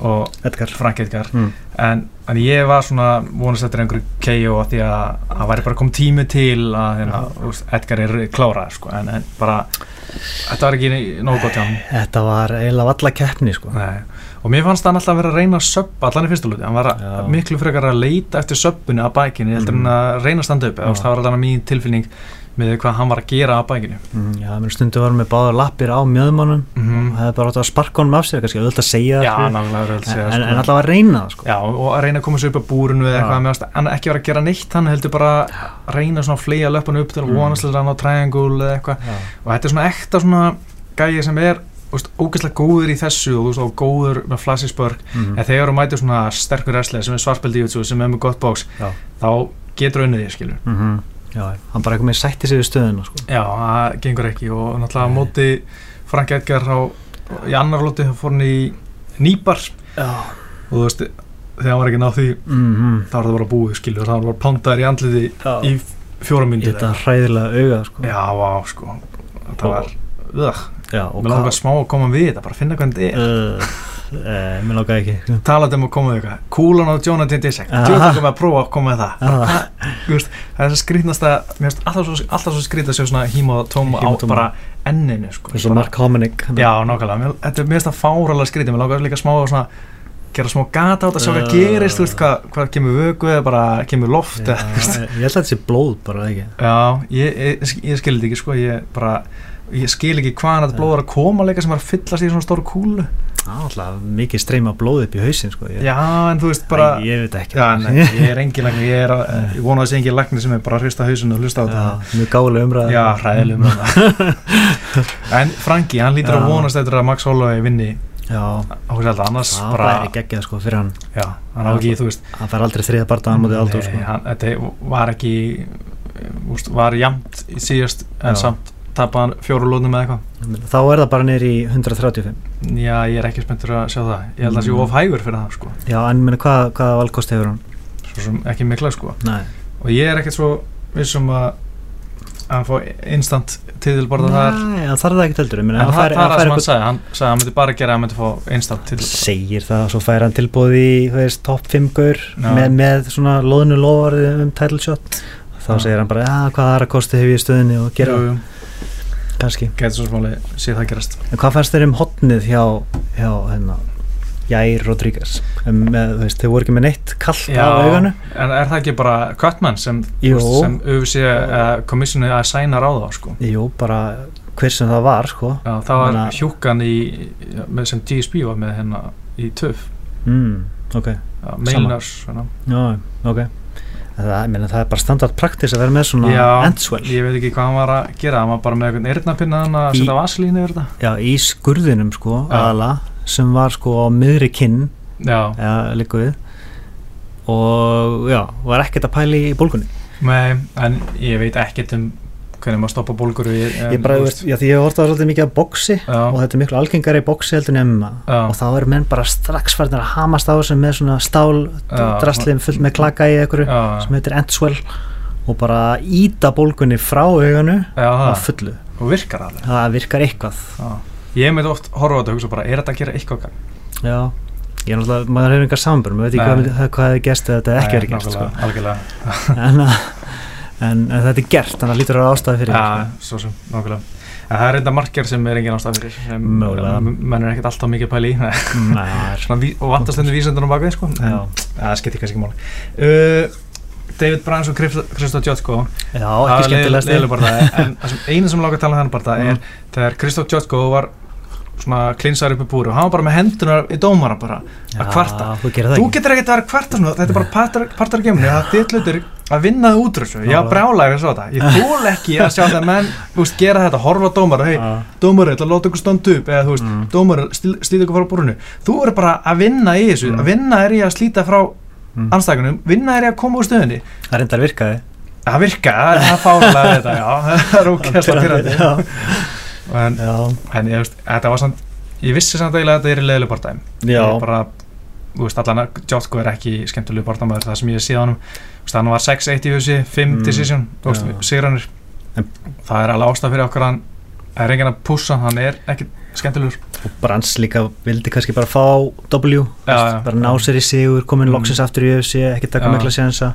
[SPEAKER 1] og
[SPEAKER 2] Edgar
[SPEAKER 1] Frank Edgar
[SPEAKER 2] Mm.
[SPEAKER 1] en, en ég var svona vonast eftir einhverju KO af því að það væri bara kom tími til að hérna,
[SPEAKER 2] Já.
[SPEAKER 1] þú veist, Edgar er klárað sko, en, en bara, þetta var ekki nógu gott hjá hann
[SPEAKER 2] Þetta var eiginlega valla keppni sko.
[SPEAKER 1] Nei. og mér fannst hann alltaf vera að reyna að söpp allan í fyrsta luti, hann var að,
[SPEAKER 2] Já.
[SPEAKER 1] miklu frekar að leita eftir söppunni að bækinni heldur
[SPEAKER 2] Mhm.
[SPEAKER 1] en að reyna að standa upp,
[SPEAKER 2] Já.
[SPEAKER 1] Eða, þú veist, það var allan mín tilfinning með hvað hann var að gera að bækinni
[SPEAKER 2] Mm, Já, menn stundu varum við báður lappir á mjöðumannum
[SPEAKER 1] Mhm.
[SPEAKER 2] og hefði bara átt að sparka honum af sér kannski, auðvitað að segja
[SPEAKER 1] já,
[SPEAKER 2] það
[SPEAKER 1] nálega verður að
[SPEAKER 2] skilur.
[SPEAKER 1] segja
[SPEAKER 2] en,
[SPEAKER 1] sko.
[SPEAKER 2] en alltaf að reyna það sko.
[SPEAKER 1] Já, og að reyna að koma sér upp að búrinu eða
[SPEAKER 2] Já.
[SPEAKER 1] eitthvað, mér fannst hann ekki vera að gera neitt hann heldur bara að reyna svona að fleja löpunum upp til að
[SPEAKER 2] Mhm.
[SPEAKER 1] vonast til að hann á triangle eða eitthvað
[SPEAKER 2] Já.
[SPEAKER 1] og þetta er svona ekta svona gæi sem er þú veist, ógeðslega góður í þessu og, þú veist, og góður með flassispörk
[SPEAKER 2] Mhm.
[SPEAKER 1] en þegar þú mætir svona sterkur wrestler sem er svartbeldi jútsu sem er með gott bóks
[SPEAKER 2] Já.
[SPEAKER 1] þá getur unnið því skilur
[SPEAKER 2] Mhm. Já, hann bara eitthvað með sætti sig við stöðuna sko.
[SPEAKER 1] já, það gengur ekki og náttúrulega á
[SPEAKER 2] Nei.
[SPEAKER 1] móti Frank Edgar á, í annar lóti þá fór hann í nýbar
[SPEAKER 2] Já
[SPEAKER 1] og þú veist þegar hann var ekki náð því þá var það bara búið skilur þá var það bara pandaður í andliði í fjóra
[SPEAKER 2] Mhm. Í
[SPEAKER 1] myndir
[SPEAKER 2] þetta hræðilega auga sko.
[SPEAKER 1] já, á, sko það var Ugh,
[SPEAKER 2] Já, og
[SPEAKER 1] mér langar smá að koma við þetta, bara finna hvernig þetta er
[SPEAKER 2] uh, eh, Mér langar ekki sko.
[SPEAKER 1] talað um að koma við eitthvað kúlan á Jonathan Dissek
[SPEAKER 2] Aha.
[SPEAKER 1] Jonathan kom að prófa að koma með það
[SPEAKER 2] Já.
[SPEAKER 1] bara, hvað, þú veist, það er þess að skrýtnasta mér finnst alltaf svo, alltaf svo skrýtna sér svona híma og tóma á
[SPEAKER 2] Hím og tóm.
[SPEAKER 1] bara enninu sko.
[SPEAKER 2] Eins og
[SPEAKER 1] bara,
[SPEAKER 2] Mark Hominick
[SPEAKER 1] já, nákvæmlega, mér, þetta er mér finnst það fáralega skrýtna mér langar líka smá að svona gera smá gata á þetta, sjá hvað
[SPEAKER 2] Já.
[SPEAKER 1] gerist, þú veist, hvað, hvað kemur vöku eða bara kemur loft
[SPEAKER 2] Eh. Já,
[SPEAKER 1] eða, þú veist.
[SPEAKER 2] Ég held að þetta sé blóð bara ekki
[SPEAKER 1] Já, ég, ég, ég skil þetta ekki sko, ég bara ég skil ekki hvaðan þetta
[SPEAKER 2] Já.
[SPEAKER 1] blóð er að koma leika sem var að fyllast í svona stóru kúlu
[SPEAKER 2] Það er alltaf mikið streyma blóð upp í hausin sko. ég,
[SPEAKER 1] Já, en þú veist bara
[SPEAKER 2] Æ, Ég veit ekki
[SPEAKER 1] Já, nei, ég er engin lagni, ég, er, að- ég vona að sé engin lagni sem er bara að hrista hausinu og hlusta á
[SPEAKER 2] Já,
[SPEAKER 1] þetta
[SPEAKER 2] Mjög gálega umræða
[SPEAKER 1] Já, hræðilegum þetta En Franki, hann lítur að
[SPEAKER 2] Já.
[SPEAKER 1] vonast eftir að Max Holloway vinni
[SPEAKER 2] Já,
[SPEAKER 1] á hversu alltaf, annars
[SPEAKER 2] það
[SPEAKER 1] bara
[SPEAKER 2] væri geggjað sko fyrir hann
[SPEAKER 1] Já, hann á ekki, þú veist
[SPEAKER 2] hann fær aldrei þriða barndaðan mútið aldur
[SPEAKER 1] Nei,
[SPEAKER 2] sko.
[SPEAKER 1] hann, Þetta var ekki úst, var jamt í síðast en
[SPEAKER 2] Já.
[SPEAKER 1] samt tapaði hann fjóru lónum eða eitthvað
[SPEAKER 2] þá er það bara neyri í 135
[SPEAKER 1] Já, ég er ekki spenntur að sjá það Ég held að það sé
[SPEAKER 2] Mm.
[SPEAKER 1] of hægur fyrir það, sko
[SPEAKER 2] já, en meni, hvað, hvaða valkost hefur hann?
[SPEAKER 1] Svo sem ekki mikla, sko
[SPEAKER 2] Nei.
[SPEAKER 1] Og ég er ekkert svo vissum að að hann fá instant titilborða þar
[SPEAKER 2] Nei, hann þarf það ekki heldur en
[SPEAKER 1] En
[SPEAKER 2] hann
[SPEAKER 1] það
[SPEAKER 2] fær,
[SPEAKER 1] það er það
[SPEAKER 2] hann fær
[SPEAKER 1] sem hann
[SPEAKER 2] eitthvað
[SPEAKER 1] sagði, hann sagði að hann myndi bara gera að hann myndi fá instant til
[SPEAKER 2] segir það, svo fær hann tilbúð í þú veist, topp 5 gaur
[SPEAKER 1] Já.
[SPEAKER 2] með, með svona loðnu lofarið um title shot þá
[SPEAKER 1] Já.
[SPEAKER 2] segir hann bara, já, hvaða aðra kosti hefur ég í stöðinni og gera,
[SPEAKER 1] Jú, jú,
[SPEAKER 2] kannski
[SPEAKER 1] Getur svo smáli, sé það gerast
[SPEAKER 2] en hvað fannst þeir um hotnið hjá, hjá hérna, Jair Rodríguez um, með, þú veist, þeir voru ekki með neitt kallt á auganu
[SPEAKER 1] en er það ekki bara Cutman sem,
[SPEAKER 2] Jú.
[SPEAKER 1] þú veist, sem UFC uh, komissinu að sæna ráða á, sko
[SPEAKER 2] Jú, bara hver sem það var sko.
[SPEAKER 1] Já, það var
[SPEAKER 2] Þannig að-
[SPEAKER 1] hjúkan í, með, sem GSP var með hérna í töf
[SPEAKER 2] mm, Ok,
[SPEAKER 1] Mailinars
[SPEAKER 2] já, ok En Það, ég meina, það er bara standard praktis að vera með svona
[SPEAKER 1] Já,
[SPEAKER 2] endswell
[SPEAKER 1] Ég veit ekki hvað hann var að gera, hann var bara með einhvern eyrnapinna hann að
[SPEAKER 2] Í-
[SPEAKER 1] setja vaselín yfir þetta
[SPEAKER 2] Já, í skurðinum sko,
[SPEAKER 1] Já.
[SPEAKER 2] aðala sem var sko á miðri kinn
[SPEAKER 1] Já,
[SPEAKER 2] eða líku við og já, var ekkert að pæli í bólgunni
[SPEAKER 1] nei, en ég veit ekkert um hvernig maður stoppa bólgur við
[SPEAKER 2] Ég bara, veist, já, því ég hef orðað svolítið mikið að boxi
[SPEAKER 1] Já,
[SPEAKER 2] og þetta er miklu algengari í boxi heldur en MMA
[SPEAKER 1] Já.
[SPEAKER 2] og þá eru menn bara strax farnir að hamast á þessum með svona stál
[SPEAKER 1] Já.
[SPEAKER 2] drastlið fullt með klaka í einhverju
[SPEAKER 1] já,
[SPEAKER 2] sem heitir Endswell og bara íta bólgunni frá auganu
[SPEAKER 1] já,
[SPEAKER 2] á
[SPEAKER 1] það-
[SPEAKER 2] fullu,
[SPEAKER 1] og virkar alveg
[SPEAKER 2] það virkar eitthvað
[SPEAKER 1] Já. Ég myndi oft horfa á þetta og hugsa bara, er þetta að gera eitthvað gang?
[SPEAKER 2] já, ég er náttúrulega, maður hefur engar sambur maður veit ekki
[SPEAKER 1] Nei.
[SPEAKER 2] hvað, myndi- það- hvað hefði gerst eða þetta hefði ekki verið gerst sko.
[SPEAKER 1] Nákvæmlega, algjörlega.
[SPEAKER 2] en, að- en, en þetta er gert þannig að lítur að vera ástæði fyrir
[SPEAKER 1] Já,
[SPEAKER 2] því, sko.
[SPEAKER 1] svo sem, nákvæmlega. En það er reynda markjar sem er engin ástæð fyrir. sem
[SPEAKER 2] Mögulega.
[SPEAKER 1] m- Menn er ekkert alltaf mikið pæli í. Nei,
[SPEAKER 2] sko. Nei, það er-
[SPEAKER 1] Svona ví- og vantast henni vísendunum bak við, sko. En-
[SPEAKER 2] já,
[SPEAKER 1] Ja, Það skiptir kannski ekki máli. Uh, David Brans og Kristof Jotko.
[SPEAKER 2] já, ekki skemmtilegast
[SPEAKER 1] leilu bara það. En það sem eina sem lágur að tala um hann bara það er
[SPEAKER 2] Mm.
[SPEAKER 1] þegar Kristof Jotko var svona klinsar upp í búru og hann var bara með hendunar í dómara bara að kvarta.
[SPEAKER 2] þú gerir það
[SPEAKER 1] Þú
[SPEAKER 2] ekki
[SPEAKER 1] getur ekkert að vera kvarta svona, þetta er bara partar, partar gemni, það er þitt hlutur að vinna það út úr þessu, ég
[SPEAKER 2] Já.
[SPEAKER 1] brjálægir að sjá þetta, ég þól ekki að sjá það menn, þú veist, gera þetta, horfa á dómara, hei,
[SPEAKER 2] Já.
[SPEAKER 1] dómara, ætla að láta ykkur standa upp, eða þú veist,
[SPEAKER 2] Mm.
[SPEAKER 1] dómara, slíta ykkur frá búrunu, þú er bara að vinna í þessu,
[SPEAKER 2] Mm.
[SPEAKER 1] að vinna er í að slíta frá
[SPEAKER 2] Mm.
[SPEAKER 1] anstækunum, vinna er í að koma úr stöðunni,
[SPEAKER 2] það reyndar virkaði
[SPEAKER 1] það virka, það er það fálega þetta, já, það er ókjærslega pyrrandi,
[SPEAKER 2] já,
[SPEAKER 1] en,
[SPEAKER 2] já,
[SPEAKER 1] en ég veist, þetta var samt, ég vissi samt eiginlega að þetta er í leiðileg partæm,
[SPEAKER 2] já.
[SPEAKER 1] bara, þú veist allan að Jotko er ekki skemmtilegu barnamæður það sem ég sé á honum Þú veist, hann var 6-1 í hugsi, 5
[SPEAKER 2] Mm,
[SPEAKER 1] decision þú veist,
[SPEAKER 2] já.
[SPEAKER 1] sigranir
[SPEAKER 2] En-
[SPEAKER 1] það er alveg ástæð fyrir okkur að hann það er enginn að pússa, hann er ekki skemmtilegur
[SPEAKER 2] og Brans líka vildi kannski bara fá W,
[SPEAKER 1] Já,
[SPEAKER 2] veist,
[SPEAKER 1] já.
[SPEAKER 2] bara ná sér í sigur komin
[SPEAKER 1] Mm.
[SPEAKER 2] loksins aftur í UFC, ekki taka
[SPEAKER 1] Já.
[SPEAKER 2] mikla séansa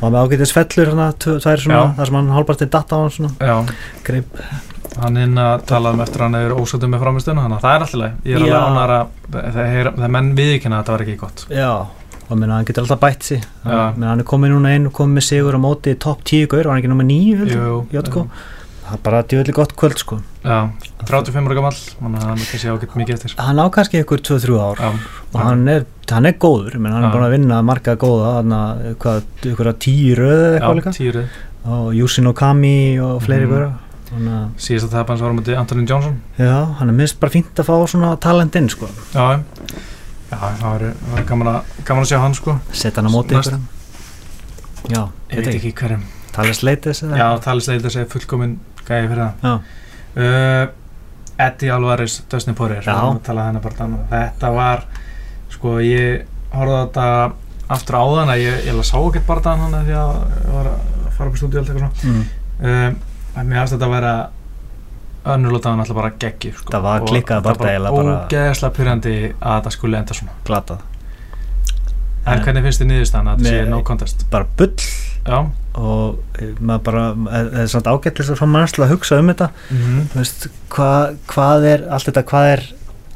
[SPEAKER 2] og hann með ágætis fellur hana, tvær svona,
[SPEAKER 1] Já.
[SPEAKER 2] þar sem hann hálparti datt á hann svona,
[SPEAKER 1] já,
[SPEAKER 2] greip
[SPEAKER 1] hann inn að talað um eftir að hann hefur ósöldum með framistunum þannig að það er alltaf leið ég er alveg
[SPEAKER 2] Já.
[SPEAKER 1] ánar að það er- það er menn viðkynna að þetta var ekki gott
[SPEAKER 2] já, og minna, hann getur alltaf bætt sig
[SPEAKER 1] Já.
[SPEAKER 2] minna, hann er komin núna inn og komin með sigur á móti í topp 10 gaur, var hann ekki nummer 9
[SPEAKER 1] Jú,
[SPEAKER 2] Jotko, það er bara djúvillig gott kvöld sko,
[SPEAKER 1] já, 35 ára gamall þannig að hann kannski á ekki mikið eftir
[SPEAKER 2] hann á kannski ykkur 2-3 ár
[SPEAKER 1] já,
[SPEAKER 2] og hann er, hann er góður, menn hann
[SPEAKER 1] Já.
[SPEAKER 2] er búin að vinna marga góða, hann að, hvað, ykkur að tíu röðu eða eitthvað líka
[SPEAKER 1] já týrið
[SPEAKER 2] og Jussi Nokami og fleiri
[SPEAKER 1] Mhm.
[SPEAKER 2] mm. bara þannig að
[SPEAKER 1] síðast að tapa hans var á mútið Antonin Johnson
[SPEAKER 2] já, hann er minnst bara fínt að fá svona talentinn sko,
[SPEAKER 1] já, já það var, var gaman, að, gaman að sjá hann sko
[SPEAKER 2] setja hann á móti
[SPEAKER 1] Næst-
[SPEAKER 2] ykkur já,
[SPEAKER 1] ég veit ekki hverjum
[SPEAKER 2] talast leitis
[SPEAKER 1] já, talist eitthvað að segja fullkomin gæði fyrir
[SPEAKER 2] Já.
[SPEAKER 1] það uh, Eddie Alvarez, Dustin Poirier
[SPEAKER 2] Já.
[SPEAKER 1] við talaði hennar hérna bara þannig þetta var, sko ég horfði á þetta aftur áðan að ég, ég sá ekkert bara þannig hann af því að ég var að fara upp í stúdíu og allt eitthvað svona
[SPEAKER 2] mm.
[SPEAKER 1] um, en mér finnst þetta að vera önnurlótaðan alltaf bara geggjur sko.
[SPEAKER 2] Það var
[SPEAKER 1] Og
[SPEAKER 2] klikkað
[SPEAKER 1] þetta
[SPEAKER 2] bara eiginlega
[SPEAKER 1] bara
[SPEAKER 2] bara-
[SPEAKER 1] ógeðslega pyrrandi að þetta skulle enda svona
[SPEAKER 2] glatað,
[SPEAKER 1] en
[SPEAKER 2] Nei.
[SPEAKER 1] hvernig finnst þið niðurstaðan að þetta sé
[SPEAKER 2] Nei.
[SPEAKER 1] no contest
[SPEAKER 2] bara bull
[SPEAKER 1] já
[SPEAKER 2] og eh, maður bara, eh, það er svona ágætlis að fá mannslega að hugsa um þetta
[SPEAKER 1] mm
[SPEAKER 2] Þú veist, hva, hvað er, allt þetta hvað er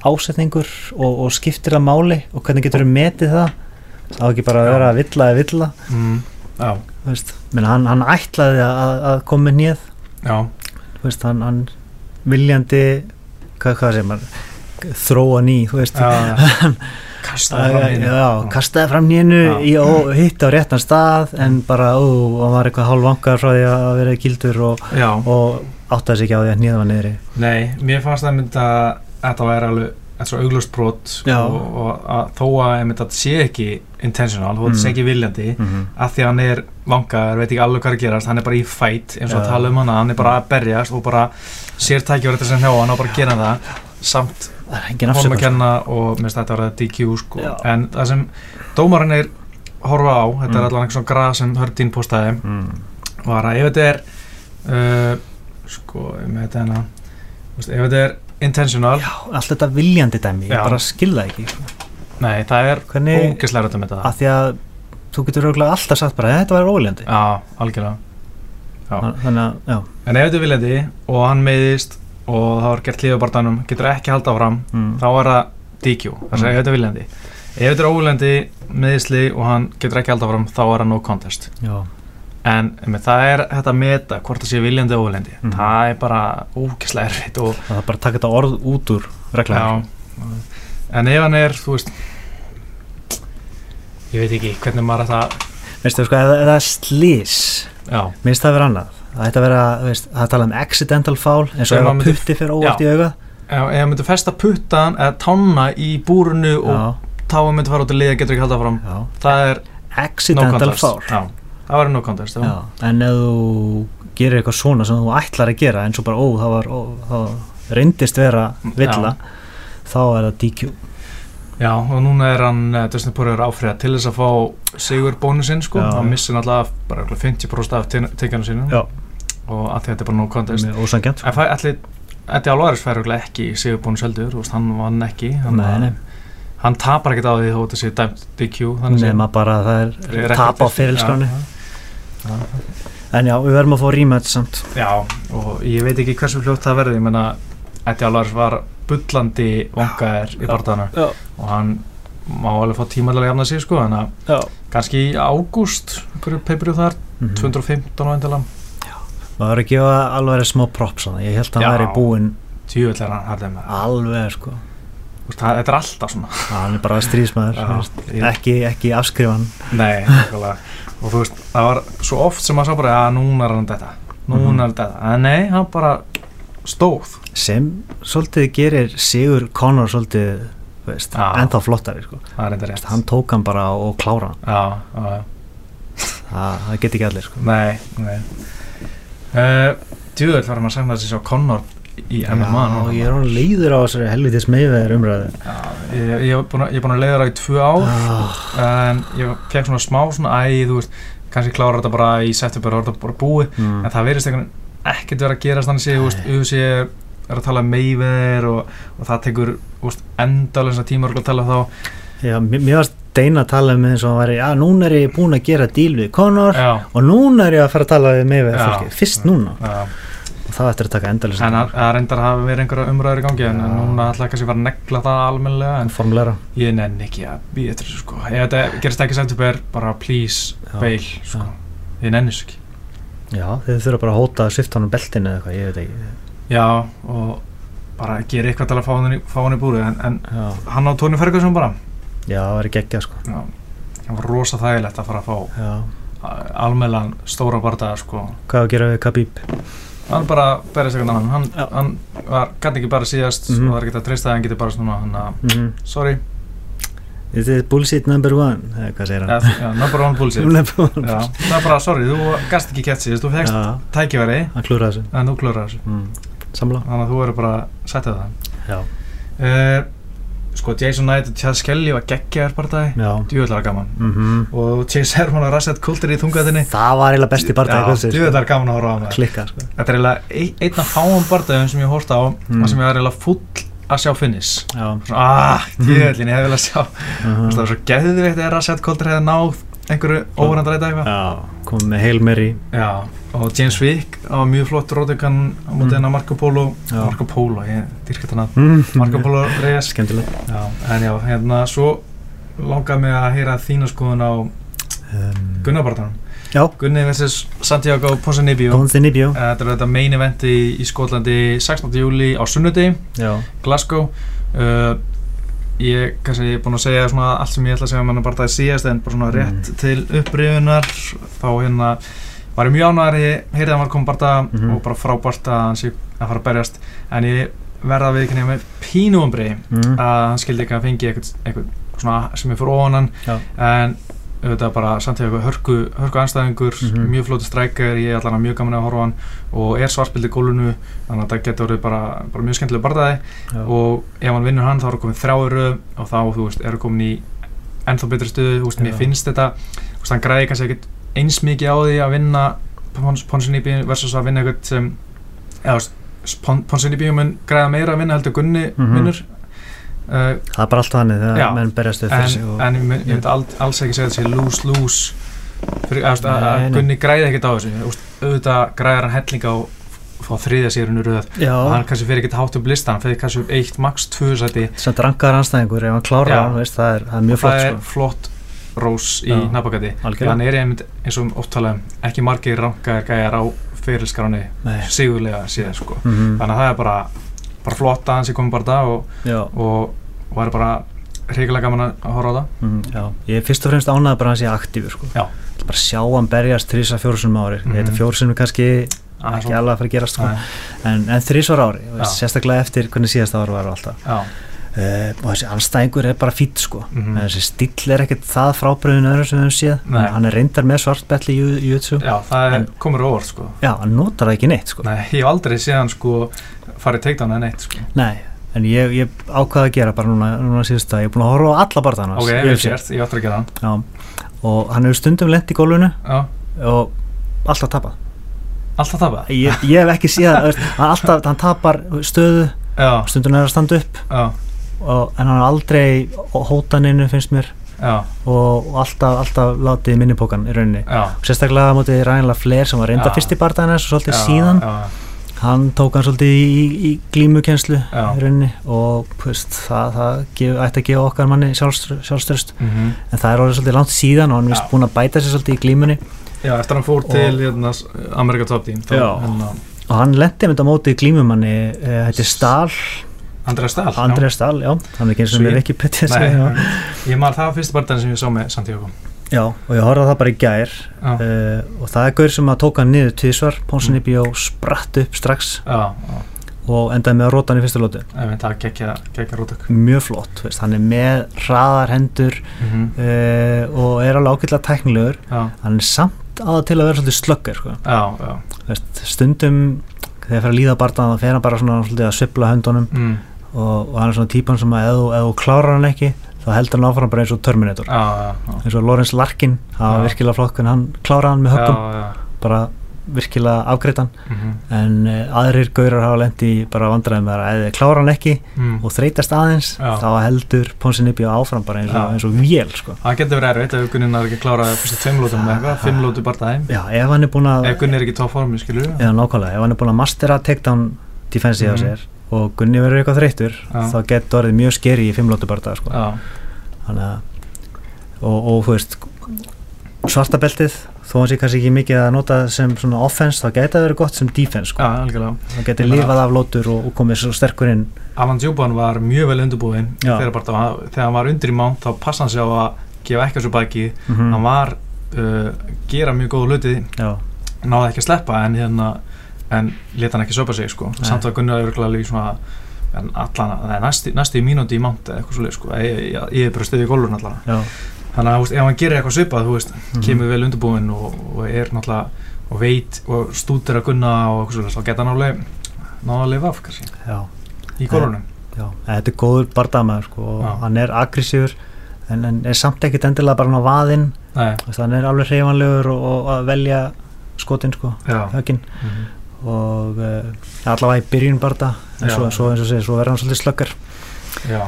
[SPEAKER 2] ásetningur og, og skiptir það máli og hvernig getur við metið það það á ekki bara að vera að villa eða villa
[SPEAKER 1] mm, já,
[SPEAKER 2] Þú veist, menn, hann, hann ætlaði að, að koma með nýð
[SPEAKER 1] já,
[SPEAKER 2] þú veist, hann, hann viljandi hvað, hvað segir maður þróa ný, þú veist
[SPEAKER 1] já, já. kastaði fram
[SPEAKER 2] já,
[SPEAKER 1] hérna
[SPEAKER 2] já, kastaði fram nýjunu
[SPEAKER 1] Já.
[SPEAKER 2] og hitt á réttan stað en bara, ó, hann var eitthvað hálfvangar frá því að vera kildur og,
[SPEAKER 1] já,
[SPEAKER 2] og áttaði sig ekki á því að nýða var niðri
[SPEAKER 1] nei, mér fannst það mynd að þetta væri alveg þetta er svo auglust brot
[SPEAKER 2] Já.
[SPEAKER 1] og, og að, þó að einmitt þetta sé ekki intentional, þó að þetta sé
[SPEAKER 2] Mm.
[SPEAKER 1] ekki viljandi
[SPEAKER 2] mm -hmm.
[SPEAKER 1] að því að hann er vangaður, veit ekki alveg hvað er að gerast hann er bara í fætt, eins og að
[SPEAKER 2] Já.
[SPEAKER 1] tala um hana hann er bara að berjast og bara sér tækjur þetta sem hjá hann og bara gera það samt
[SPEAKER 2] það er engin
[SPEAKER 1] honum að
[SPEAKER 2] afsökun
[SPEAKER 1] kenna og minnst þetta var það DQ sko.
[SPEAKER 2] Já.
[SPEAKER 1] en það sem dómarinn er horfa á, þetta er
[SPEAKER 2] Mm.
[SPEAKER 1] allan eitthvað svona grað sem Hördín postaði,
[SPEAKER 2] mm.
[SPEAKER 1] var að ef þetta er uh, sko, með þetta hérna þú veist, ef þetta er intentional
[SPEAKER 2] já, allt þetta viljandi dæmi, ég
[SPEAKER 1] Já.
[SPEAKER 2] bara skilða ekki
[SPEAKER 1] nei, það er
[SPEAKER 2] hvernig,
[SPEAKER 1] ógislega rætt um þetta
[SPEAKER 2] að því að þú getur örugglega alltaf sagt bara, þetta var óviljandi
[SPEAKER 1] já, algjörlega Já.
[SPEAKER 2] þannig að, já
[SPEAKER 1] en ef þetta er viljandi og hann meiðist og það var gert lífabartanum, getur ekki halda áfram
[SPEAKER 2] mm.
[SPEAKER 1] þá er það DQ, það segja
[SPEAKER 2] Mm.
[SPEAKER 1] ef þetta er viljandi ef þetta er óviljandi meðisli og hann getur ekki alltaf fram, þá er það no contest
[SPEAKER 2] já,
[SPEAKER 1] en um, það er þetta að meta hvort það sé viljandi og óviljandi
[SPEAKER 2] Mm.
[SPEAKER 1] það er bara ókislega erfitt og
[SPEAKER 2] það er bara að taka þetta orð út úr reglæðar
[SPEAKER 1] já, en ef hann er, þú veist ég veit ekki hvernig maður ætla að
[SPEAKER 2] veistu sko, eða, eða slís
[SPEAKER 1] já,
[SPEAKER 2] minnst það vera annað það ætti að vera, þú veist, það tala um accidental foul eins og
[SPEAKER 1] Ef
[SPEAKER 2] ef
[SPEAKER 1] maður
[SPEAKER 2] að
[SPEAKER 1] myndi-
[SPEAKER 2] putti fyrir óvart í auga
[SPEAKER 1] ef ef hann myndi festa puttan eða tána í búrunu
[SPEAKER 2] já,
[SPEAKER 1] og táin myndi fara út að liða getur ekki alltaf fram
[SPEAKER 2] já,
[SPEAKER 1] það er no
[SPEAKER 2] accidental foul
[SPEAKER 1] contest já, það var no contest já.
[SPEAKER 2] já, en ef þú gerir eitthvað svona sem þú ætlar að gera eins og bara, ó, það var ó, það reyndist vera villa þá er það DQ
[SPEAKER 1] Já, og núna er hann eh, Dustin Poirier áfriða til þess að fá sigur bónusinn sko,
[SPEAKER 2] Já.
[SPEAKER 1] hann missir náttúrulega af bara örugglega 50% af tin- tikkanu sínum
[SPEAKER 2] Já.
[SPEAKER 1] og að því þetta er bara no contest
[SPEAKER 2] með ósangjant
[SPEAKER 1] En fæ, allir, Eddi Álvaris fær örugglega ekki sigur bónus heldur, þú veist, hann vann ekki hann,
[SPEAKER 2] Nei, nei.
[SPEAKER 1] hann tapar ekkert á því þó þetta sé dæmt DQ, þannig
[SPEAKER 2] nema bara að það
[SPEAKER 1] séð.
[SPEAKER 2] er tap á fyrirskráni en já, við verðum að fá rematch samt
[SPEAKER 1] Já, já, og ég veit ekki hversu fljótt það verði, ég menna Eddi Álvaris var bullandi vangaðir í
[SPEAKER 2] Já.
[SPEAKER 1] barðana
[SPEAKER 2] já,
[SPEAKER 1] og hann má alveg fá tíma til að jafna sig sko, en að
[SPEAKER 2] já Mm.
[SPEAKER 1] kannski í ágúst, einhverju peipurum þar 215 á endalam
[SPEAKER 2] maður er Mhm. að gefa alveg smá props hana. ég held að
[SPEAKER 1] Já.
[SPEAKER 2] hann væri búinn
[SPEAKER 1] djúvill er hann harðið með það.
[SPEAKER 2] alveg sko
[SPEAKER 1] Úst, það þetta er alltaf svona
[SPEAKER 2] hann er bara stríðsmaður þú veist.
[SPEAKER 1] Ég-
[SPEAKER 2] ekki, ekki afskrifan
[SPEAKER 1] nei, nákvæmlega. og þú veist, það var svo oft sem maður sá bara að núna er hann þetta núna er
[SPEAKER 2] Mhm.
[SPEAKER 1] hann þetta, en nei, hann bara stóð
[SPEAKER 2] sem svolítið gerir Sigur Conor svolítið þú veist,
[SPEAKER 1] Já.
[SPEAKER 2] ennþá flottari sko.
[SPEAKER 1] það er enda rétt
[SPEAKER 2] hann tók hann bara og klára hann
[SPEAKER 1] já, já, já.
[SPEAKER 2] það, það get ekki allir sko.
[SPEAKER 1] nei, nei. Uh, djúvill var hann að segna þessi svo Connor í MMA
[SPEAKER 2] Já,
[SPEAKER 1] núna.
[SPEAKER 2] ég er hann leiður á þessari helvitis meðveðar umræðu
[SPEAKER 1] Já, ég ég, ég, er búinn að- ég er búin að leiða það í tvö ár
[SPEAKER 2] Ah,
[SPEAKER 1] en ég fekk svona smá svona æ, þú veist, kannski klára þetta bara í september og þetta bara búið
[SPEAKER 2] mm.
[SPEAKER 1] en það verðist einhvern veginn ekkert vera að gerast þannig séð, þú veist,
[SPEAKER 2] Nei.
[SPEAKER 1] UFC er, er að tala meifir og, og það tekur þú veist, endalega tíma örugglega að tala þá
[SPEAKER 2] Já, mér mér varst Deina að tala um eins og hann væri, já, núna er ég búin að gera díl við Conor
[SPEAKER 1] já,
[SPEAKER 2] og núna er ég að fara að tala við mig við
[SPEAKER 1] Já.
[SPEAKER 2] fólki, fyrst núna
[SPEAKER 1] já.
[SPEAKER 2] og það eftir að taka endalist
[SPEAKER 1] en að, að reyndar að hafa verið einhverja umræður í gangi en, en núna ætla ég kannski að fara að negla það almennilega en
[SPEAKER 2] formlera
[SPEAKER 1] ég nenni ekki að býja þetta sko. ef þetta gerist ekki september, bara please
[SPEAKER 2] Já,
[SPEAKER 1] bail, sko. ég nenni þessu ekki
[SPEAKER 2] Já, þið þurfa bara að hóta að svifta hann um beltinu eða eitthvað, ég veit ekki
[SPEAKER 1] já, og bara gera eitthvað til að fá hann í, fá hann í búri en, en
[SPEAKER 2] Já,
[SPEAKER 1] hann á Tony Ferguson bara
[SPEAKER 2] já það væri geggjað sko
[SPEAKER 1] já, það var rosa þægilegt að fara að fá
[SPEAKER 2] Já,
[SPEAKER 1] almennlan stóra bardaða sko
[SPEAKER 2] hvað á að gera við Khabib?
[SPEAKER 1] hann bara berðist eitthvað annan hann,
[SPEAKER 2] Já.
[SPEAKER 1] hann var, gæti ekki bara síðast
[SPEAKER 2] Mhm.
[SPEAKER 1] og það er ekki að treysta að hann geti bara svona hann að,
[SPEAKER 2] Mm -hmm.
[SPEAKER 1] sorry,
[SPEAKER 2] This is bullshit number one, eða hvað segir hann?
[SPEAKER 1] eða, já, number one bullshit
[SPEAKER 2] Number one.
[SPEAKER 1] já, það er bara sorry, þú gast ekki kett síðast þú fegst
[SPEAKER 2] Já,
[SPEAKER 1] tækifæri
[SPEAKER 2] hann klúra þessu
[SPEAKER 1] en þú klörar þessu
[SPEAKER 2] mm. Samla
[SPEAKER 1] þannig að þú verður bara að setja það
[SPEAKER 2] Já,
[SPEAKER 1] uh, sko Jason Knight og Chad Skelly var geggjaðar bardaði
[SPEAKER 2] já
[SPEAKER 1] djúvillara gaman
[SPEAKER 2] mm
[SPEAKER 1] og Chase Herman og Rasset Coulter í þungaðinni
[SPEAKER 2] Það var eiginlega besti barndagi
[SPEAKER 1] djúvillara gaman að horfa á það
[SPEAKER 2] Klikka sko
[SPEAKER 1] þetta er eiginlega ein- einn af fáum bardaðum sem ég horfði á
[SPEAKER 2] Mm.
[SPEAKER 1] mm. sem ég var eiginlega full að sjá finish
[SPEAKER 2] Já
[SPEAKER 1] svona, ah,
[SPEAKER 2] Mm.
[SPEAKER 1] djúvillin, ég hefði vel að sjá
[SPEAKER 2] uh
[SPEAKER 1] það var svo geðvikt eða Rasset Coulter hefði náð einhverju óvarandræta eitthvað
[SPEAKER 2] Já, komum með Hail Mary
[SPEAKER 1] Já, og James Wick á mjög flott rótekan á
[SPEAKER 2] Mm.
[SPEAKER 1] móti hennar Marco Polo
[SPEAKER 2] Já.
[SPEAKER 1] Marco Polo, ég dyrkja þetta nafn
[SPEAKER 2] mm.
[SPEAKER 1] Marco Polo Reyes
[SPEAKER 2] Skemmtilegt
[SPEAKER 1] já, en já, hérna, svo langaði mig að heyra þína skoðun á
[SPEAKER 2] um,
[SPEAKER 1] Gunnabartanum
[SPEAKER 2] Já,
[SPEAKER 1] Gunni vs. Santiago Ponsanibio
[SPEAKER 2] Góðan þinn í bjó
[SPEAKER 1] Þetta er þetta main eventi í Skotlandi 16. júli á sunnudegi,
[SPEAKER 2] Já
[SPEAKER 1] Glasgow uh, Ég kannski er búinn að segja svona allt sem ég ætla að segja um hennar barndaði síðast en bara svona
[SPEAKER 2] Mm.
[SPEAKER 1] rétt til upprifunar þá hérna var ég mjög ánægðar ég heyrði að hann var komið barndaða
[SPEAKER 2] Mhm.
[SPEAKER 1] og bara frábært að hann sé að fara að berjast en ég verða að viðkynna með pínuumbri
[SPEAKER 2] mm.
[SPEAKER 1] að hann skildi ekki að fengi eitthvað, eitthvað svona sem er fyrir ofan hann
[SPEAKER 2] Já.
[SPEAKER 1] en auðvitað bara samtíðu hörku, hörku anstæðingur,
[SPEAKER 2] Mhm.
[SPEAKER 1] mjög flóti strækjar ég er allan að mjög gaman að horfa á hann og er svartbildi gólunu þannig að það getur orðið bara, bara mjög skemmtileg barndaði
[SPEAKER 2] Já.
[SPEAKER 1] og ef hann vinnur hann þá eru komin þráuru og þá, þú veist, eru komin í ennþá betri stöðu, þú veist, mér
[SPEAKER 2] Já.
[SPEAKER 1] finnst þetta þú veist, hann græði kannski ekkit eins mikið á því að vinna Ponsinibi versus að vinna eitthvað sem eða, Ponsinibi mun græða meira að vinna heldur Gunni mm
[SPEAKER 2] Mhm.
[SPEAKER 1] vinnur uh,
[SPEAKER 2] Það er bara alltaf hannig
[SPEAKER 1] Já.
[SPEAKER 2] þegar menn berjast við fyrir sig
[SPEAKER 1] en,
[SPEAKER 2] og...
[SPEAKER 1] en ég mynd- ég myndi alls, alls ekki segja þessi lose-lose fyrir eða, þú veist, að,
[SPEAKER 2] Nei,
[SPEAKER 1] að
[SPEAKER 2] nei.
[SPEAKER 1] Gunni græði ekkit á þessu þú veist, auðvitað græðar hann helling á fá þriðja sérinu röð og
[SPEAKER 2] Já,
[SPEAKER 1] hann kannski fyrir ekkit hátt upp listan fyrir kannski upp eitt, max tvö sæti
[SPEAKER 2] sem drangaðar anstæðingur ef hann klárar
[SPEAKER 1] Já.
[SPEAKER 2] hann, veist, það er, það er mjög flott
[SPEAKER 1] það er
[SPEAKER 2] sko.
[SPEAKER 1] flott rós í
[SPEAKER 2] Já.
[SPEAKER 1] nabagati
[SPEAKER 2] Algjörlega.
[SPEAKER 1] þannig er einmitt eins og oft talaðum ekki margir rankaðir gæjar á fyrirskráni
[SPEAKER 2] Nei.
[SPEAKER 1] sigurlega síðan sko
[SPEAKER 2] Mhm.
[SPEAKER 1] þannig að það er bara, bara flott að hans ég komið bara það og,
[SPEAKER 2] Já,
[SPEAKER 1] og og það er bara hrigilega gaman að að horfa á það
[SPEAKER 2] mhm, já, ég er fyrst og fremst ánægð bara að hann sé aktífur sko.
[SPEAKER 1] Já.
[SPEAKER 2] Ég vil bara sjá hann berjast þrísa fjórsunum ári mm
[SPEAKER 1] Mhm.
[SPEAKER 2] -hmm. þetta fjórsunum kannski
[SPEAKER 1] Aðeins
[SPEAKER 2] ekki
[SPEAKER 1] og-
[SPEAKER 2] alveg að fara að gerast sko.
[SPEAKER 1] Nei,
[SPEAKER 2] en, en þrísvar ári, þú veist,
[SPEAKER 1] Já.
[SPEAKER 2] sérstaklega eftir hvernig síðasta ári var og alltaf
[SPEAKER 1] já,
[SPEAKER 2] uh, og þessi anstæðingur er bara fýtt sko.
[SPEAKER 1] Mhm.
[SPEAKER 2] en þessi stíll er ekkert það frábriðin öðru sem við höfum séð,
[SPEAKER 1] Nei.
[SPEAKER 2] hann er reyndar með svartbelli í ju- jutsu,
[SPEAKER 1] já, það er,
[SPEAKER 2] En-
[SPEAKER 1] komur á óvart sko
[SPEAKER 2] já, hann notar það ekki neitt sko.
[SPEAKER 1] Nei, ég hef aldrei séðan sko farið teikt á hann eitt sko
[SPEAKER 2] Nei, en ég, ég ákvaði að gera bara núna, núna síðust að ég er búin að horfa á alla barða hans
[SPEAKER 1] Ok, vel gert, ég ætla að gera hann
[SPEAKER 2] og hann hefur stundum lent í gólfinu
[SPEAKER 1] Já,
[SPEAKER 2] og alltaf tapað
[SPEAKER 1] alltaf það bara
[SPEAKER 2] ég, ég hef ekki séð það, veist, hann, alltaf, hann tapar stöðu
[SPEAKER 1] Já,
[SPEAKER 2] stundum er að standa upp
[SPEAKER 1] já,
[SPEAKER 2] og, en hann er aldrei hótaninu finnst mér
[SPEAKER 1] já,
[SPEAKER 2] og, og alltaf, alltaf látið minnipokan í rauninni
[SPEAKER 1] já
[SPEAKER 2] sérstaklega á móti Rænla Flair sem var reynda
[SPEAKER 1] Já.
[SPEAKER 2] fyrst í barðana og svolítið
[SPEAKER 1] já,
[SPEAKER 2] síðan
[SPEAKER 1] já,
[SPEAKER 2] hann tók hann svolítið í, í, í glímukenslu
[SPEAKER 1] Já.
[SPEAKER 2] í rauninni og þú veist, það, það gef, ætti að gefa okkar manni sjálfströst
[SPEAKER 1] mhm
[SPEAKER 2] en það er orðið svolítið langt síðan og hann er vist
[SPEAKER 1] Já.
[SPEAKER 2] búin að bæta sér svolítið í glímunni
[SPEAKER 1] Já, eftir að hann fór
[SPEAKER 2] Og-
[SPEAKER 1] til hérna, s- America Top Team þá,
[SPEAKER 2] Já.
[SPEAKER 1] hérna,
[SPEAKER 2] og hann lendi einmitt á móti í glímumanni eh, hætti Stahl,
[SPEAKER 1] Andrea Stahl
[SPEAKER 2] Andrei Stahl já, hann er ekki eins og
[SPEAKER 1] Svín.
[SPEAKER 2] mér ekki petið
[SPEAKER 1] Nei,
[SPEAKER 2] já.
[SPEAKER 1] ég maður það var fyrsta barndaginn sem ég sá með Santiago
[SPEAKER 2] já, og ég horfði á það bara í gær
[SPEAKER 1] Já, Mm. já,
[SPEAKER 2] eh, og það er gaur sem að tóka hann niður tvísvar, Ponsinibjó spratt upp strax
[SPEAKER 1] já,
[SPEAKER 2] og endaði með að róta hann í fyrsta lótu
[SPEAKER 1] ég veit það gekkja, gekkja rótök
[SPEAKER 2] mjög flott, þú veist, hann er með hraðar hendur
[SPEAKER 1] Mhm,
[SPEAKER 2] uh, og er alveg ágætlega tæknilegur
[SPEAKER 1] Já,
[SPEAKER 2] hann er samt á það til að vera svolítið slöggar sko.
[SPEAKER 1] já, já
[SPEAKER 2] Þú veist, stundum þegar fyrir að líða barndan þá fer hann bara svona svolítið að svipla höndunum
[SPEAKER 1] mm,
[SPEAKER 2] og, og hann er svona típan sem að ef þú- ef þú klárar hann ekki þá heldur hann áfram bara eins og Terminator
[SPEAKER 1] já, já, já.
[SPEAKER 2] eins og Lawrence Larkin, það
[SPEAKER 1] Já.
[SPEAKER 2] var virkilega flott en hann kláraði hann með höggum,
[SPEAKER 1] Já, já.
[SPEAKER 2] bara virkilega afgreitan
[SPEAKER 1] Mhm,
[SPEAKER 2] en eh, aðrir gaurar hafa lendi bara vandræðum með að ef þið klára hann ekki
[SPEAKER 1] mm.
[SPEAKER 2] og þreytast aðeins
[SPEAKER 1] Já.
[SPEAKER 2] þá heldur Ponsinibio áfram bara eins og,
[SPEAKER 1] Já.
[SPEAKER 2] eins og vél sko.
[SPEAKER 1] Það getur verið erfitt ef Gunnin er ekki að klára fyrstu tveim lótum með eitthvað, fimm lótu bara dæm.
[SPEAKER 2] já, ef hann er búin að
[SPEAKER 1] Ef Gunnin er ekki í toppformi, skilur við?
[SPEAKER 2] eða nákvæmlega, ef hann er búin að mastera takedown defensi á
[SPEAKER 1] Mhm.
[SPEAKER 2] sér og Gunni verður eitthvað þreyttur
[SPEAKER 1] Já.
[SPEAKER 2] þá getur orðið mjög skeri í fimmlótu barða sko.
[SPEAKER 1] Já,
[SPEAKER 2] Þannig að- og, og þú veist svarta beltið þó hann sé kannski ekki mikið að nota sem svona offense þá geta það verið gott sem defense
[SPEAKER 1] já,
[SPEAKER 2] sko.
[SPEAKER 1] algjörlega.
[SPEAKER 2] hann geti
[SPEAKER 1] Ég meina-
[SPEAKER 2] lifað af lótur og, og komið svo sterkur inn
[SPEAKER 1] Alan Djúbán var mjög vel undurbúinn
[SPEAKER 2] Já.
[SPEAKER 1] þegar, bara, það- þegar hann var undir í mán þá passa hann sig á að gefa ekki á svo baki
[SPEAKER 2] mm
[SPEAKER 1] Mhm. hann var uh, gera mjög góða hluti
[SPEAKER 2] já,
[SPEAKER 1] náði ekki að sleppa en hérna en let hann ekki söpa sig sko
[SPEAKER 2] Nei.
[SPEAKER 1] samt að Gunnar er örgulega líka svona en allan, það er næstu, næstu í mínúti í mánt eða eitthvað svolítið sko, ég, ég, ég er bara stöðið í gólfurinn allan
[SPEAKER 2] já,
[SPEAKER 1] þannig að þú veist, ef hann gerir eitthvað svipað, þú veist
[SPEAKER 2] Mhm.
[SPEAKER 1] kemur vel undurbúinn og, og er náttúrulega og veit og stútir að Gunna og eitthvað svolítið, þá geta hann alveg náða að lifa af kannski,
[SPEAKER 2] já,
[SPEAKER 1] í gólfurnum
[SPEAKER 2] já. En þetta er góður barðamaður sko, og
[SPEAKER 1] Já.
[SPEAKER 2] hann er aggressífur en, en er samt ekkit endilega bara hann á vaðinn
[SPEAKER 1] Nei,
[SPEAKER 2] Þú veist, hann er alveg hreyfanlegur og, og að velja skotin sko,
[SPEAKER 1] já
[SPEAKER 2] hökin
[SPEAKER 1] mhm.
[SPEAKER 2] og uh, allavega í byrjun barða en
[SPEAKER 1] Já.
[SPEAKER 2] svo, svo eins og segir, svo verður hann svolítið slöggar
[SPEAKER 1] Já,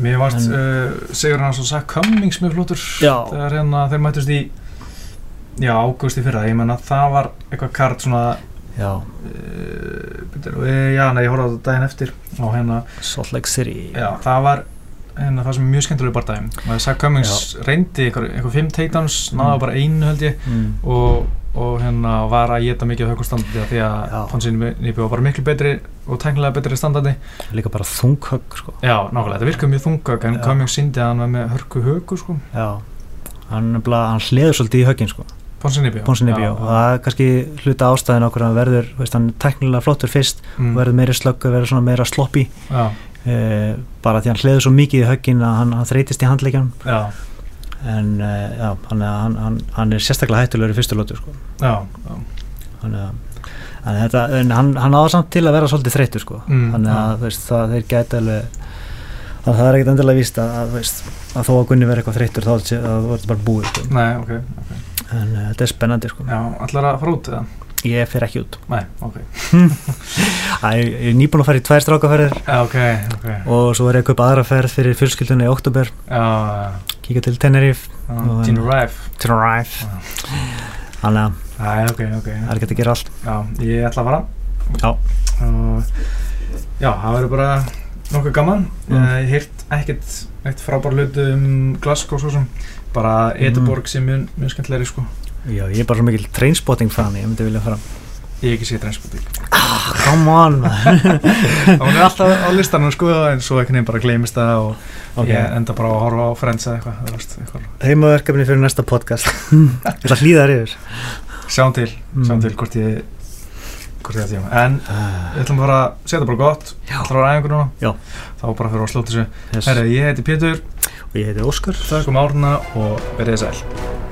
[SPEAKER 1] mér varst
[SPEAKER 2] En-
[SPEAKER 1] uh, Sigur Hansson sagt Cummings mjög flottur
[SPEAKER 2] Já.
[SPEAKER 1] þegar hérna þeir mættust í já, águst í fyrra, ég menna það var eitthvað kart svona
[SPEAKER 2] já,
[SPEAKER 1] uh, bitur, uh, já, nei, ég horfði á þetta daginn eftir og hérna,
[SPEAKER 2] Salt Lake City
[SPEAKER 1] já, það var hérna, það sem er mjög skemmtilega bara daginn og Sack Cummings reyndi eitthvað, eitthvað fimm takedowns, náða
[SPEAKER 2] Mm.
[SPEAKER 1] bara einu held ég
[SPEAKER 2] mm,
[SPEAKER 1] og, og hérna var að geta mikið á högum standandi af því að
[SPEAKER 2] Já.
[SPEAKER 1] Ponsin Nipi var bara miklu betri og tæknilega betri standandi
[SPEAKER 2] líka bara þunghögg sko.
[SPEAKER 1] Já, nákvæmlega, þetta virkaði mjög þungag en
[SPEAKER 2] Já.
[SPEAKER 1] Cummings síndi að hann var með hörku högu sko,
[SPEAKER 2] já, hann, nefnilega- hann hliður svolítið í höggin sko,
[SPEAKER 1] Ponsinibjó
[SPEAKER 2] Ponsinibjó og það er kannski hluta ástæðin okkur hann verður, veist, hann er teknilega flottur fyrst
[SPEAKER 1] mm,
[SPEAKER 2] verður meiri slöggur, verður svona meira sloppy
[SPEAKER 1] Já,
[SPEAKER 2] uh, bara því hann hliður svo mikið í höggin að hann, hann þreytist í handleikjan
[SPEAKER 1] já,
[SPEAKER 2] en uh, já, hann, hann, hann, hann er sérstaklega hættulegur í fyrstu lótu sko.
[SPEAKER 1] já, já.
[SPEAKER 2] þannig að þannig að þetta, en hann, hann áða samt til að vera svolítið þreyttur sko
[SPEAKER 1] Mm,
[SPEAKER 2] þannig að
[SPEAKER 1] já.
[SPEAKER 2] þú veist, það, þeir gæti alveg að það er ekkert endilega víst að, að, þú veist, að þó að Gunni verið eitthvað þreyttur þá sé- þá verður þetta bara búið sko.
[SPEAKER 1] Nei, ok, ok
[SPEAKER 2] en uh, þetta er spennandi sko
[SPEAKER 1] Já, allar að fara út eða?
[SPEAKER 2] ég fer ekki út
[SPEAKER 1] Nei, ok
[SPEAKER 2] að, ég, ég er nýbúin að fara í tvær strákaferðir
[SPEAKER 1] Já, ok, ok
[SPEAKER 2] og svo er ég að kaupa aðra ferð fyrir fjölskylduna í oktober
[SPEAKER 1] Já, já,
[SPEAKER 2] kíka til Tenerife
[SPEAKER 1] já, Gene Rife
[SPEAKER 2] Tenerife
[SPEAKER 1] Já.
[SPEAKER 2] þannig að
[SPEAKER 1] Nei, ok, ok
[SPEAKER 2] það er ekki að gera allt
[SPEAKER 1] Já, ég ætla að fara
[SPEAKER 2] Já.
[SPEAKER 1] Og- Já, það verður bara nokkuð gaman
[SPEAKER 2] Mm.
[SPEAKER 1] Ég hýrt ekkert eitt frábær hlut um Glasgow svo sem bara
[SPEAKER 2] Mm.
[SPEAKER 1] Edinborg sem mjög, mjög skemmtilegri sko
[SPEAKER 2] já, ég er bara svo mikil trainspotting fan ég myndi vilja fara
[SPEAKER 1] Ég hef ekki séð Transpotting
[SPEAKER 2] come on maður.
[SPEAKER 1] og hún er alltaf á listanum sko en svo einhvern veginn bara gleymist það og
[SPEAKER 2] Ok.
[SPEAKER 1] ég enda bara að horfa á Friends eða eitthvað, þú veist, eitthvað.
[SPEAKER 2] heimaverkefni fyrir næsta podcast ég ætla að hlýða þar yfir
[SPEAKER 1] sjáum til, sjáum
[SPEAKER 2] Mm.
[SPEAKER 1] til hvort ég hvort ég það tíma, en
[SPEAKER 2] Ah,
[SPEAKER 1] við ætlum bara að segja þetta bara gott,
[SPEAKER 2] Já.
[SPEAKER 1] ætlum að ræða núna
[SPEAKER 2] Já.
[SPEAKER 1] þá bara fyrir að slóta þessu
[SPEAKER 2] yes.
[SPEAKER 1] Herra, ég heiti Pétur,
[SPEAKER 2] og ég heiti Óskar
[SPEAKER 1] þakkum árna og verið þið sæl
[SPEAKER 2] Takk